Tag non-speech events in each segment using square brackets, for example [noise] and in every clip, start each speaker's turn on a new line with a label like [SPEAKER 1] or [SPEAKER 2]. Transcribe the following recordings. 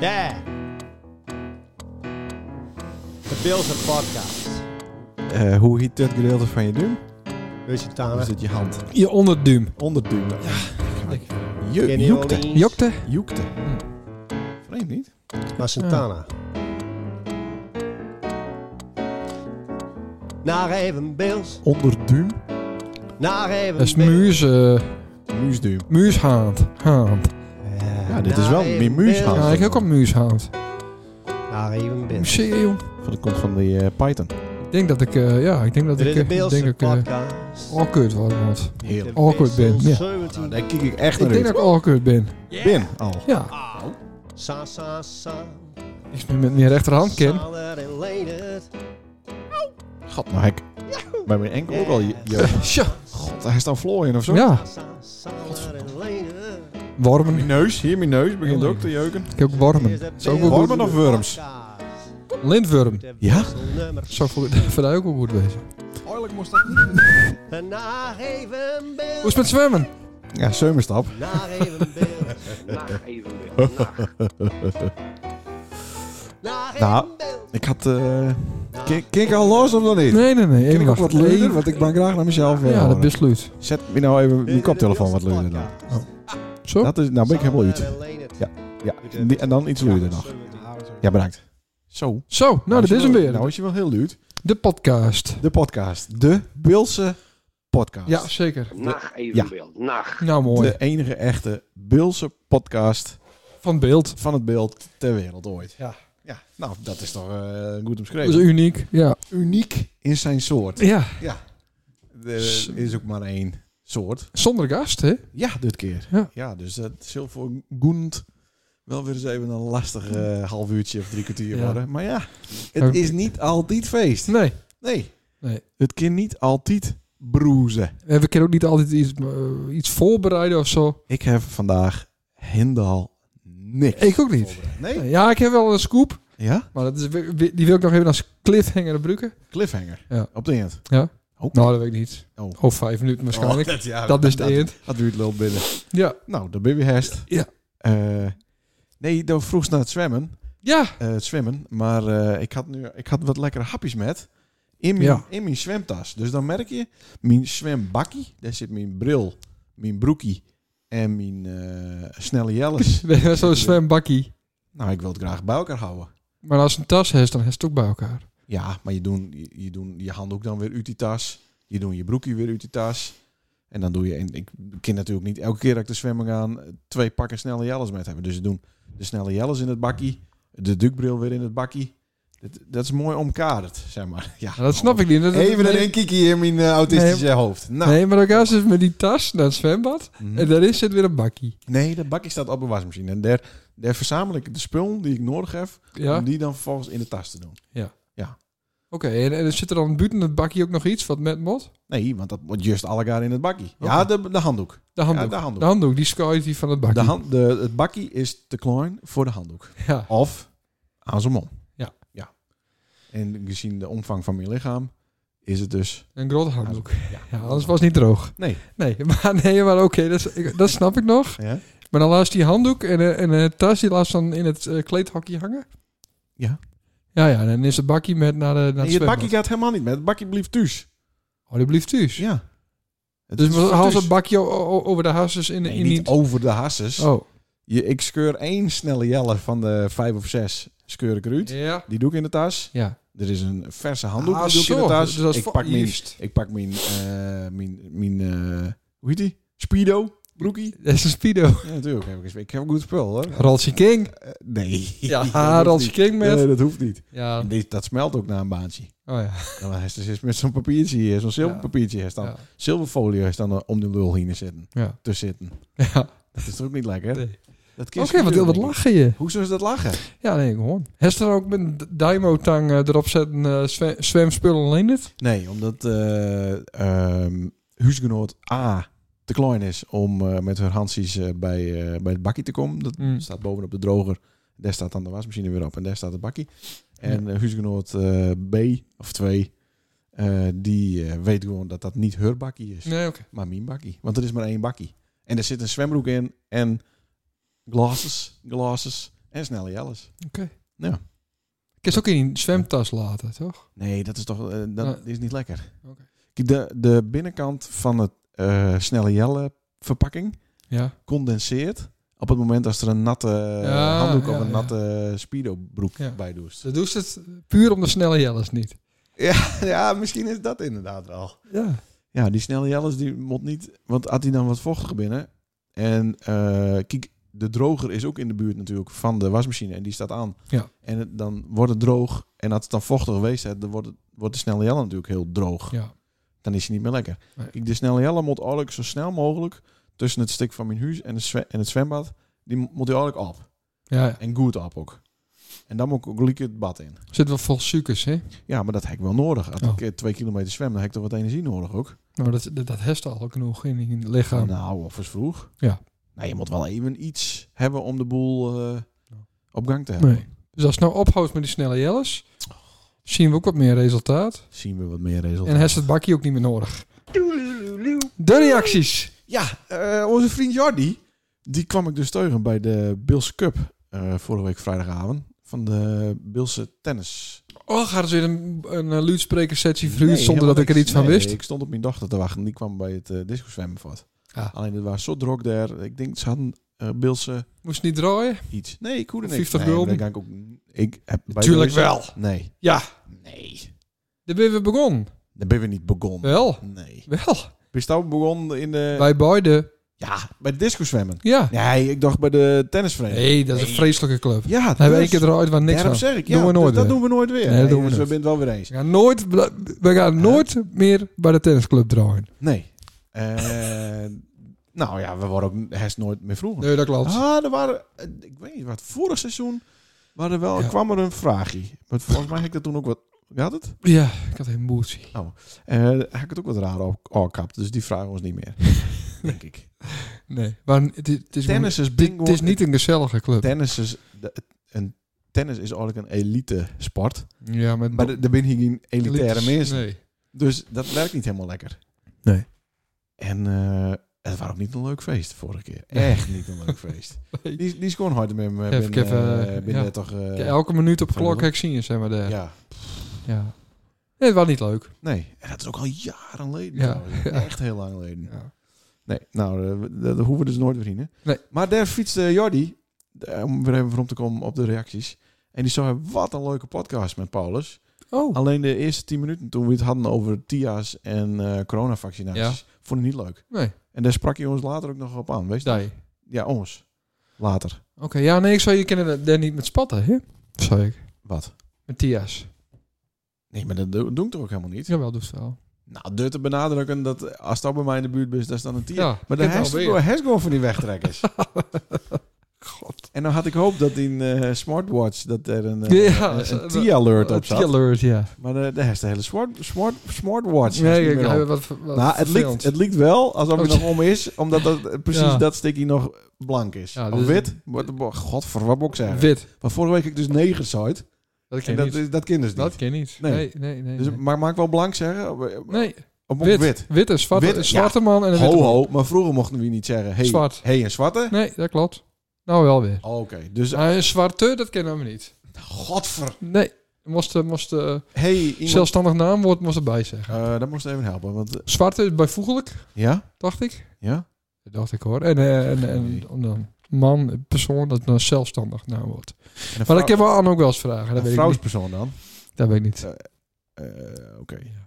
[SPEAKER 1] Yeah. De Pilsen Podcast.
[SPEAKER 2] Eh, hoe heet dat gedeelte van je duim? Hoe
[SPEAKER 1] Lusitana.
[SPEAKER 2] zit je hand?
[SPEAKER 3] Je onderduim.
[SPEAKER 2] Onderduim.
[SPEAKER 3] ik-
[SPEAKER 2] Je,
[SPEAKER 1] Kenny
[SPEAKER 2] joekte.
[SPEAKER 1] Rollins.
[SPEAKER 3] Jokte?
[SPEAKER 2] Joekte. Vreemd niet?
[SPEAKER 1] Maar Santana. Naar even Bills.
[SPEAKER 2] Onderduim.
[SPEAKER 1] Naar even
[SPEAKER 3] Dat is muus, eh,
[SPEAKER 2] Muusduim.
[SPEAKER 3] muushaand. Haand.
[SPEAKER 1] Eh,
[SPEAKER 2] Ja, dit is wel meer muushaand.
[SPEAKER 3] Ja, ik heb ook een muushaand.
[SPEAKER 1] Naar even Bills.
[SPEAKER 3] Museum.
[SPEAKER 2] Van de komt van de eh, Python.
[SPEAKER 3] Ik denk dat ik, eh, ja, ik denk dat
[SPEAKER 1] Dit is de
[SPEAKER 3] ik, eh, ik denk
[SPEAKER 1] Beelse
[SPEAKER 3] dat ik eh,
[SPEAKER 1] Podcast.
[SPEAKER 3] awkward was, want
[SPEAKER 2] Heerlijk.
[SPEAKER 3] awkward ben, ja.
[SPEAKER 2] Nou,
[SPEAKER 1] 17.
[SPEAKER 2] daar kijk ik echt
[SPEAKER 3] ik
[SPEAKER 2] naar
[SPEAKER 3] denk dat
[SPEAKER 2] uit.
[SPEAKER 3] ik awkward ben.
[SPEAKER 2] Ben al.
[SPEAKER 3] Ja,
[SPEAKER 1] Au. Sa, sa, sa.
[SPEAKER 3] ik ben met mijn rechterhand ken.
[SPEAKER 1] Sander en Leendert.
[SPEAKER 2] Gat, nou hek. Bij mijn enkel ook al. je- je-
[SPEAKER 1] [laughs]
[SPEAKER 3] Tja,
[SPEAKER 2] God, hij is dan vlooien of zo.
[SPEAKER 3] ja,
[SPEAKER 1] Sa, sa, Sander en Leendert.
[SPEAKER 3] wormen.
[SPEAKER 2] Mijn neus, hier mijn neus begint ook te jeuken.
[SPEAKER 3] Ik
[SPEAKER 1] Dit
[SPEAKER 3] heb ook
[SPEAKER 1] is de
[SPEAKER 3] wormen. Zo
[SPEAKER 1] Beelse
[SPEAKER 3] goed.
[SPEAKER 2] Wormen of worms?
[SPEAKER 1] Podcast.
[SPEAKER 3] Lintworm.
[SPEAKER 1] De
[SPEAKER 2] Ja?
[SPEAKER 1] Beelse nummer.
[SPEAKER 3] Zo voor, [laughs] voor jou ook wel goed wezen.
[SPEAKER 2] Eigenlijk moest dat niet.
[SPEAKER 1] Naar even
[SPEAKER 3] Hoe is
[SPEAKER 1] Bills.
[SPEAKER 3] het met zwemmen?
[SPEAKER 2] Ja, zeumerstap.
[SPEAKER 1] Naar even Bills.
[SPEAKER 4] Nacht even weer. Nacht.
[SPEAKER 1] Naar
[SPEAKER 2] Nou.
[SPEAKER 1] even Bills.
[SPEAKER 2] Ik had... eh
[SPEAKER 1] Naar
[SPEAKER 2] kijk, kijk al los of dan niet?
[SPEAKER 3] Nee, nee, nee.
[SPEAKER 2] Ken
[SPEAKER 3] Even
[SPEAKER 2] ik ook wat
[SPEAKER 3] wachten.
[SPEAKER 2] luider?
[SPEAKER 3] Even-
[SPEAKER 2] Want ik ben graag naar mezelf. eh,
[SPEAKER 3] Ja, dat
[SPEAKER 2] horen.
[SPEAKER 3] besluit.
[SPEAKER 2] Zet me nou even mijn
[SPEAKER 1] Mijn
[SPEAKER 2] koptelefoon wat luider dan.
[SPEAKER 3] Zo?
[SPEAKER 2] Dat is, nou ben ik helemaal uit. Ja, die- en dan iets luider nog. Ja, bedankt. Zo.
[SPEAKER 3] Zo, nou, dat is hem weer.
[SPEAKER 2] Nou is je wel heel luid.
[SPEAKER 3] De podcast.
[SPEAKER 2] De podcast. De Bilse podcast.
[SPEAKER 3] Ja, zeker.
[SPEAKER 4] Nacht even weer. Nacht.
[SPEAKER 3] Nou, mooi.
[SPEAKER 2] De enige echte Bilse podcast
[SPEAKER 3] Van beeld.
[SPEAKER 2] van het beeld ter wereld ooit.
[SPEAKER 3] Ja.
[SPEAKER 2] Ja, nou, dat is toch eh, goed
[SPEAKER 3] Dat is
[SPEAKER 2] omschreven.
[SPEAKER 3] uniek. Ja.
[SPEAKER 2] Uniek in zijn soort.
[SPEAKER 3] Ja.
[SPEAKER 2] Er is ook maar één soort.
[SPEAKER 3] Zonder gast, hè?
[SPEAKER 2] Ja, dit keer.
[SPEAKER 3] Ja.
[SPEAKER 2] dus dat zal voor Goend wel weer eens even een lastig eh, half uurtje of drie kwartier
[SPEAKER 3] Ja.
[SPEAKER 2] worden. Maar ja,
[SPEAKER 3] Ook-
[SPEAKER 2] het is niet altijd feest.
[SPEAKER 3] Nee.
[SPEAKER 2] Nee.
[SPEAKER 3] Nee.
[SPEAKER 2] Het kan niet altijd broezen.
[SPEAKER 3] En we kunnen ook niet altijd iets, eh, iets voorbereiden of zo.
[SPEAKER 2] Ik heb vandaag Hindal niks.
[SPEAKER 3] Ik ook niet.
[SPEAKER 2] voorbereid. Nee?
[SPEAKER 3] Ja, ik heb wel een scoop.
[SPEAKER 2] Ja?
[SPEAKER 3] Maar dat is, wi- wi- die wil ik nog even als cliffhanger gebruiken.
[SPEAKER 2] Cliffhanger.
[SPEAKER 3] Ja.
[SPEAKER 2] Op de eind.
[SPEAKER 3] Ja.
[SPEAKER 2] Ook
[SPEAKER 3] Nou, dat weet ik niet.
[SPEAKER 2] Oh.
[SPEAKER 3] Of vijf minuten waarschijnlijk.
[SPEAKER 2] Oh, dat, ja,
[SPEAKER 3] dat is het eind.
[SPEAKER 2] Dat duurt lul binnen.
[SPEAKER 3] Ja.
[SPEAKER 2] Nou, de baby herst.
[SPEAKER 3] Ja.
[SPEAKER 2] Eh, nee, daar vroeg ze naar het zwemmen.
[SPEAKER 3] Ja.
[SPEAKER 2] eh, het zwemmen. Maar eh, ik, had nu, ik had wat lekkere hapjes met. In mijn,
[SPEAKER 3] Ja.
[SPEAKER 2] in mijn zwemtas. Dus dan merk je, mijn zwembakkie. Daar zit mijn bril, mijn broekie en mijn eh, snelle jelles.
[SPEAKER 3] We hebben Zo'n zwembakkie.
[SPEAKER 2] nou, ik wil het graag bij elkaar houden.
[SPEAKER 3] Maar als een tas heeft, dan heeft het ook bij elkaar.
[SPEAKER 2] Ja, maar je doet je, je, doen je handdoek dan weer uit die tas. Je doet je broekje weer uit die tas. En dan doe je... En ik ken natuurlijk niet elke keer dat ik de zwemmen ga... twee pakken snelle jelles met hebben. Dus ze doen de snelle jelles in het bakkie. De duikbril weer in het bakkie. Dat, dat is mooi omkaderd, zeg maar. [laughs] Ja,
[SPEAKER 3] Nou, dat snap ik niet. Dat-
[SPEAKER 2] Oh. Even
[SPEAKER 3] nee.
[SPEAKER 2] een kikkie in mijn eh, autistische hoofd. Nou,
[SPEAKER 3] Nee, maar dan gaan ze met die tas naar het zwembad.
[SPEAKER 2] Mhm.
[SPEAKER 3] En daarin zit weer een bakkie.
[SPEAKER 2] nee, dat bakkie staat op een wasmachine. En daar, daar verzamel ik de spullen die ik nodig heb...
[SPEAKER 3] Ja.
[SPEAKER 2] om
[SPEAKER 3] Oké,
[SPEAKER 2] die dan vervolgens in de tas te doen.
[SPEAKER 3] en, en er zit er dan buiten het bakkie ook nog iets wat met mot?
[SPEAKER 2] Nee, want dat wordt juist allegaar in het bakkie.
[SPEAKER 3] Oké.
[SPEAKER 2] Ja, de, de handdoek.
[SPEAKER 3] De handdoek.
[SPEAKER 2] Ja, de handdoek.
[SPEAKER 3] De handdoek, die schuift die van het bakje.
[SPEAKER 2] De hand, de, het bakkie is te klein voor de handdoek.
[SPEAKER 3] Ja.
[SPEAKER 2] Of aan zijn mond.
[SPEAKER 3] Ja.
[SPEAKER 2] ja. En gezien de omvang van mijn lichaam is het dus...
[SPEAKER 3] Een grote handdoek.
[SPEAKER 2] Ja,
[SPEAKER 3] Ja, anders was het niet droog.
[SPEAKER 2] Nee.
[SPEAKER 3] Nee, [laughs] maar, nee, maar oké, dat, is- ik- dat snap ik nog.
[SPEAKER 2] Ja?
[SPEAKER 3] Maar dan laat die handdoek en, eh, en de tas, die laat dan in het eh, kleedhokje hangen.
[SPEAKER 2] Ja.
[SPEAKER 3] Ja, ja, en dan is het bakje met naar de naar
[SPEAKER 2] Nee,
[SPEAKER 3] het
[SPEAKER 2] het
[SPEAKER 3] zwembad.
[SPEAKER 2] bakkie gaat helemaal niet met. Het bakkie blijft thuis.
[SPEAKER 3] Oh, die blieft thuis.
[SPEAKER 2] Ja. Het
[SPEAKER 3] Dus
[SPEAKER 2] is
[SPEAKER 3] we
[SPEAKER 2] thuis.
[SPEAKER 3] haal het bakje o- o- over de hasses in,
[SPEAKER 2] Nee,
[SPEAKER 3] in
[SPEAKER 2] niet over de hasses.
[SPEAKER 3] Oh.
[SPEAKER 2] Je, ik scheur één snelle jelle van de vijf of zes scheur ik eruit.
[SPEAKER 3] Ja.
[SPEAKER 2] Die doe ik in de tas.
[SPEAKER 3] Ja. [laughs]
[SPEAKER 2] Er is een verse handdoek
[SPEAKER 3] Ah,
[SPEAKER 2] die doe ik in
[SPEAKER 3] zo.
[SPEAKER 2] de tas.
[SPEAKER 3] Dus dat is
[SPEAKER 2] ik,
[SPEAKER 3] voor-
[SPEAKER 2] pak mijn,
[SPEAKER 3] juist.
[SPEAKER 2] ik pak mijn... eh, mijn, mijn eh, hoe heet die? Speedo? Broekie?
[SPEAKER 3] Dat is een speedo.
[SPEAKER 2] Ja, natuurlijk. heb ik, ik heb een goed spul, hoor.
[SPEAKER 3] Ralsje King.
[SPEAKER 2] Eh, nee. [laughs]
[SPEAKER 3] Ja,
[SPEAKER 2] Dat
[SPEAKER 3] ah,
[SPEAKER 2] hoeft
[SPEAKER 3] Ralsje
[SPEAKER 2] niet.
[SPEAKER 3] King met...
[SPEAKER 2] Nee, dat hoeft niet.
[SPEAKER 3] Ja.
[SPEAKER 2] En die- dat smelt ook na een baantje.
[SPEAKER 3] Oh ja.
[SPEAKER 2] Dan is het dus met zo'n papiertje hier, zo'n zilverpapiertje is dan.
[SPEAKER 3] Ja.
[SPEAKER 2] Zilverfolie is dan eh, om de lul heen te zitten.
[SPEAKER 3] Ja.
[SPEAKER 2] Te zitten.
[SPEAKER 3] ja.
[SPEAKER 2] Dat is toch ook niet lekker?
[SPEAKER 3] Nee.
[SPEAKER 2] Dat kun je
[SPEAKER 3] Oké, wat
[SPEAKER 2] niet
[SPEAKER 3] wat
[SPEAKER 2] doen.
[SPEAKER 3] lachen je.
[SPEAKER 2] Hoezo is dat lachen?
[SPEAKER 3] Ja, nee, gewoon. Heeft er ook met een d- daimotang eh, erop zetten, eh, zwe- zwemspullen alleen het?
[SPEAKER 2] Nee, omdat eh ehm, huisgenoot A te klein is om eh, met haar handjes eh, bij, eh, bij het bakkie te komen. Dat
[SPEAKER 3] Mm.
[SPEAKER 2] staat bovenop de droger. Daar staat dan de wasmachine weer op en daar staat het bakkie. En eh, huisgenoot eh, B of 2, die eh, weet gewoon dat dat niet haar bakkie is,
[SPEAKER 3] Nee, oké.
[SPEAKER 2] maar mijn bakkie. Want er is maar één bakkie. En er zit een zwembroek in en glasses, glasses En snelle jelles.
[SPEAKER 3] Kun je het ook in een zwemtas laten, toch?
[SPEAKER 2] Nee, dat is toch eh, dat
[SPEAKER 3] Nee.
[SPEAKER 2] is niet lekker.
[SPEAKER 3] Oké.
[SPEAKER 2] Kijk, De, de binnenkant van het eh, snelle jelle verpakking
[SPEAKER 3] Ja.
[SPEAKER 2] condenseert op het moment als er een natte eh,
[SPEAKER 3] Ja,
[SPEAKER 2] handdoek
[SPEAKER 3] ja,
[SPEAKER 2] of een
[SPEAKER 3] ja.
[SPEAKER 2] natte speedo broek
[SPEAKER 3] Ja.
[SPEAKER 2] bij
[SPEAKER 3] [laughs]
[SPEAKER 2] doet.
[SPEAKER 3] Ze doet het puur om de snelle jelles niet.
[SPEAKER 2] Ja, misschien is dat inderdaad wel.
[SPEAKER 3] Ja.
[SPEAKER 2] Ja, die snelle Jelles die moet niet. Want had hij dan wat vochtiger binnen. En eh, kijk, de droger is ook in de buurt natuurlijk van de wasmachine. En die staat aan.
[SPEAKER 3] Ja.
[SPEAKER 2] En het, dan wordt het droog. En als het dan vochtig geweest is, dan wordt, het, wordt de snelle Jelle natuurlijk heel droog.
[SPEAKER 3] Ja.
[SPEAKER 2] Dan is hij niet meer lekker.
[SPEAKER 3] Nee.
[SPEAKER 2] Kijk, de snelle Jelle moet eigenlijk zo snel mogelijk tussen het stuk van mijn huis en, de zwe- en het zwembad. Die moet hij eigenlijk op.
[SPEAKER 3] Ja, ja.
[SPEAKER 2] En goed op ook. En dan moet ik ook lekker het bad in.
[SPEAKER 3] Er zit wel vol suikers, hè?
[SPEAKER 2] Ja, maar dat heb ik wel nodig. Als
[SPEAKER 3] Oh.
[SPEAKER 2] ik eh, twee kilometer zwem, dan heb ik toch wat energie nodig ook.
[SPEAKER 3] Nou, dat, dat, dat herst al genoeg in je lichaam.
[SPEAKER 2] Nou, of eens vroeg.
[SPEAKER 3] Ja.
[SPEAKER 2] Nou, je moet wel even iets hebben om de boel eh, op gang te hebben.
[SPEAKER 3] nee. Dus als het nou ophoudt met die snelle jelles, zien we ook wat meer resultaat.
[SPEAKER 2] Zien we wat meer
[SPEAKER 3] En
[SPEAKER 2] resultaten.
[SPEAKER 3] herst het bakje ook niet meer nodig. De reacties.
[SPEAKER 2] Ja, eh, onze vriend Jordi, die kwam ik dus teugen bij de Bills Cup eh, vorige week vrijdagavond. Van de Bilse tennis.
[SPEAKER 3] Oh, gaat er weer een, een eh, luidsprekersessie verhuurd
[SPEAKER 2] Nee,
[SPEAKER 3] zonder
[SPEAKER 2] helemaal
[SPEAKER 3] dat ik er
[SPEAKER 2] niks.
[SPEAKER 3] iets van
[SPEAKER 2] Nee,
[SPEAKER 3] wist?
[SPEAKER 2] Ik stond op mijn dochter te wachten. Die kwam bij het eh, disco zwemmen voort.
[SPEAKER 3] Ah.
[SPEAKER 2] Alleen het was zo druk daar. Ik denk, ze hadden eh Bilse
[SPEAKER 3] Moest niet draaien?
[SPEAKER 2] iets. Nee, ik hoorde niks.
[SPEAKER 3] 50
[SPEAKER 2] nee, maar
[SPEAKER 3] gulden?
[SPEAKER 2] dat kan Ik, ook, ik heb bij
[SPEAKER 3] Tuurlijk
[SPEAKER 2] deze-
[SPEAKER 3] wel.
[SPEAKER 2] Nee.
[SPEAKER 3] Ja.
[SPEAKER 2] Nee.
[SPEAKER 3] Daar ben we begonnen.
[SPEAKER 2] Daar ben we niet begonnen.
[SPEAKER 3] Wel.
[SPEAKER 2] Nee.
[SPEAKER 3] Wel.
[SPEAKER 2] Bestel begon in de...
[SPEAKER 3] Bij beide.
[SPEAKER 2] Ja, bij het disco zwemmen.
[SPEAKER 3] Ja.
[SPEAKER 2] Nee, ik dacht bij de tennisvereniging.
[SPEAKER 3] Nee, dat is een vreselijke club.
[SPEAKER 2] Ja,
[SPEAKER 3] We hebben één
[SPEAKER 2] dus.
[SPEAKER 3] keer eruit waar niks
[SPEAKER 2] Daarom
[SPEAKER 3] van.
[SPEAKER 2] zeg ik, ja,
[SPEAKER 3] Doen we nooit
[SPEAKER 2] dus dat
[SPEAKER 3] weer.
[SPEAKER 2] doen we nooit weer.
[SPEAKER 3] Nee, dat doen we
[SPEAKER 2] dus we
[SPEAKER 3] niet.
[SPEAKER 2] bent wel weer eens.
[SPEAKER 3] We gaan nooit, we gaan nooit meer bij de tennisclub draaien.
[SPEAKER 2] Nee. Eh, nou ja, we worden ook herst nooit meer vroeger.
[SPEAKER 3] Nee, dat klopt.
[SPEAKER 2] Ah, er waren, eh, ik weet niet wat, vorig seizoen waren er wel,
[SPEAKER 3] Ja.
[SPEAKER 2] kwam er een vraagje. Maar volgens mij had ik dat toen ook wat, had het?
[SPEAKER 3] Ja, ik had een boeltje.
[SPEAKER 2] Eh had ik het ook wat raar op, opkapt, dus die vragen ons niet [laughs] meer. denk ik.
[SPEAKER 3] Nee, maar het, is- het is,
[SPEAKER 2] Tennis is bingo.
[SPEAKER 3] het is niet een gezellige club.
[SPEAKER 2] Tennis is, de- een, tennis is eigenlijk een elite sport.
[SPEAKER 3] Ja, met
[SPEAKER 2] Maar er er zijn hier geen elitaire mensen.
[SPEAKER 3] Nee.
[SPEAKER 2] Dus dat werkt niet helemaal lekker.
[SPEAKER 3] Nee.
[SPEAKER 2] En eh, het was ook niet een leuk feest vorige keer. Echt niet een leuk [laughs] feest.
[SPEAKER 3] Nee.
[SPEAKER 2] Die, die is gewoon hard met hem. eh,
[SPEAKER 3] Even-
[SPEAKER 2] binnen,
[SPEAKER 3] even,
[SPEAKER 2] eh,
[SPEAKER 3] eh,
[SPEAKER 2] binnen
[SPEAKER 3] ja.
[SPEAKER 2] toch, eh,
[SPEAKER 3] Ja, elke minuut op
[SPEAKER 2] van
[SPEAKER 3] klok
[SPEAKER 2] de-
[SPEAKER 3] heb ik zien, zeg maar. Daar. Ja.
[SPEAKER 2] ja.
[SPEAKER 3] Nee, dat was niet leuk.
[SPEAKER 2] Nee, en dat is ook al jaren geleden.
[SPEAKER 3] Ja.
[SPEAKER 2] trouwens.
[SPEAKER 3] Ja.
[SPEAKER 2] Echt heel lang geleden.
[SPEAKER 3] Ja.
[SPEAKER 2] Nee, nou, eh, we- dat hoeven we dus nooit weer in. Hè?
[SPEAKER 3] Nee.
[SPEAKER 2] Maar daar fietste Jordi, eh, om weer even rond te komen op de reacties. En die zag, wat een leuke podcast met Paulus.
[SPEAKER 3] Oh.
[SPEAKER 2] Alleen de eerste 10 minuten toen we het hadden over TIA's en eh coronavaccinaties, vond ik niet leuk.
[SPEAKER 3] Nee,
[SPEAKER 2] En daar sprak je ons later ook nog op aan, weet je?
[SPEAKER 3] die.
[SPEAKER 2] Ja, ons. Later.
[SPEAKER 3] Oké, ja, nee, ik zou je kennen eh, daar niet met spatten, hè? Zou ik.
[SPEAKER 2] Wat?
[SPEAKER 3] Met Tia's.
[SPEAKER 2] Nee, maar dat do- doe ik toch ook helemaal niet?
[SPEAKER 3] Jawel, doet wel.
[SPEAKER 2] Nou, deur te benadrukken dat eh, als dat bij mij in de buurt is, dat is dan een TIA.
[SPEAKER 3] Ja,
[SPEAKER 2] maar
[SPEAKER 3] ik
[SPEAKER 2] de
[SPEAKER 3] heb het alweer.
[SPEAKER 2] has gewoon van die
[SPEAKER 3] [laughs]
[SPEAKER 2] wegtrekkers. God. En dan had ik hoop dat in eh, smartwatch dat er een, eh,
[SPEAKER 3] Ja,
[SPEAKER 2] een-
[SPEAKER 3] zo-
[SPEAKER 2] een TIA-alert op zat.
[SPEAKER 3] alert, ja.
[SPEAKER 2] Maar de, de has de hele smart, smart, smartwatch. is
[SPEAKER 3] Nee,
[SPEAKER 2] niet
[SPEAKER 3] ik
[SPEAKER 2] meer op.
[SPEAKER 3] heb wat, wat
[SPEAKER 2] Nou, het
[SPEAKER 3] vervelend.
[SPEAKER 2] liekt, het liekt wel alsof het
[SPEAKER 3] Oh,
[SPEAKER 2] nog om is, omdat dat, eh, precies
[SPEAKER 3] Ja.
[SPEAKER 2] dat stikkie nog blank is.
[SPEAKER 3] Ja,
[SPEAKER 2] of
[SPEAKER 3] dus-
[SPEAKER 2] wit. Wat, godver, wat moet ik zeggen?
[SPEAKER 3] Wit.
[SPEAKER 2] Maar vorige week heb ik dus negen site.
[SPEAKER 3] Dat ken
[SPEAKER 2] En
[SPEAKER 3] je
[SPEAKER 2] dat,
[SPEAKER 3] niet.
[SPEAKER 2] is- dat kinders niet.
[SPEAKER 3] Dat ken je niet.
[SPEAKER 2] Nee.
[SPEAKER 3] Nee, nee, nee. nee,
[SPEAKER 2] dus, Maar mag ik wel blank zeggen? Of,
[SPEAKER 3] Nee,
[SPEAKER 2] of moet ik
[SPEAKER 3] wit.
[SPEAKER 2] wit?
[SPEAKER 3] Wit, en zwarte,
[SPEAKER 2] Wit,
[SPEAKER 3] een
[SPEAKER 2] ja.
[SPEAKER 3] zwarte man en een witte
[SPEAKER 2] Ho,
[SPEAKER 3] man.
[SPEAKER 2] ho. Maar vroeger mochten we niet zeggen, hey,
[SPEAKER 3] Zwart.
[SPEAKER 2] hey en zwarte.
[SPEAKER 3] Nee, dat klopt. Nou, wel weer.
[SPEAKER 2] Oh, Oké, dus
[SPEAKER 3] Nou, een zwarte, dat kennen we niet.
[SPEAKER 2] godver.
[SPEAKER 3] Nee, moest, eh, moest, eh,
[SPEAKER 2] Hey, iemand...
[SPEAKER 3] zelfstandig naamwoord moest erbij zeggen.
[SPEAKER 2] Eh, dat moest even helpen, want... eh,
[SPEAKER 3] Zwarte is bijvoeglijk,
[SPEAKER 2] ja?
[SPEAKER 3] dacht ik.
[SPEAKER 2] Ja?
[SPEAKER 3] Dat dacht ik hoor. En, eh, en, en,
[SPEAKER 2] Nee.
[SPEAKER 3] en dan man, persoon, dat is een zelfstandig naamwoord.
[SPEAKER 2] En een
[SPEAKER 3] Maar dat
[SPEAKER 2] vrouw-
[SPEAKER 3] kunnen we aan ook wel eens vragen. Dat
[SPEAKER 2] Een
[SPEAKER 3] weet ik niet.
[SPEAKER 2] vrouwspersoon dan?
[SPEAKER 3] Dat weet ik niet.
[SPEAKER 2] Eh, Oké.
[SPEAKER 3] Ja.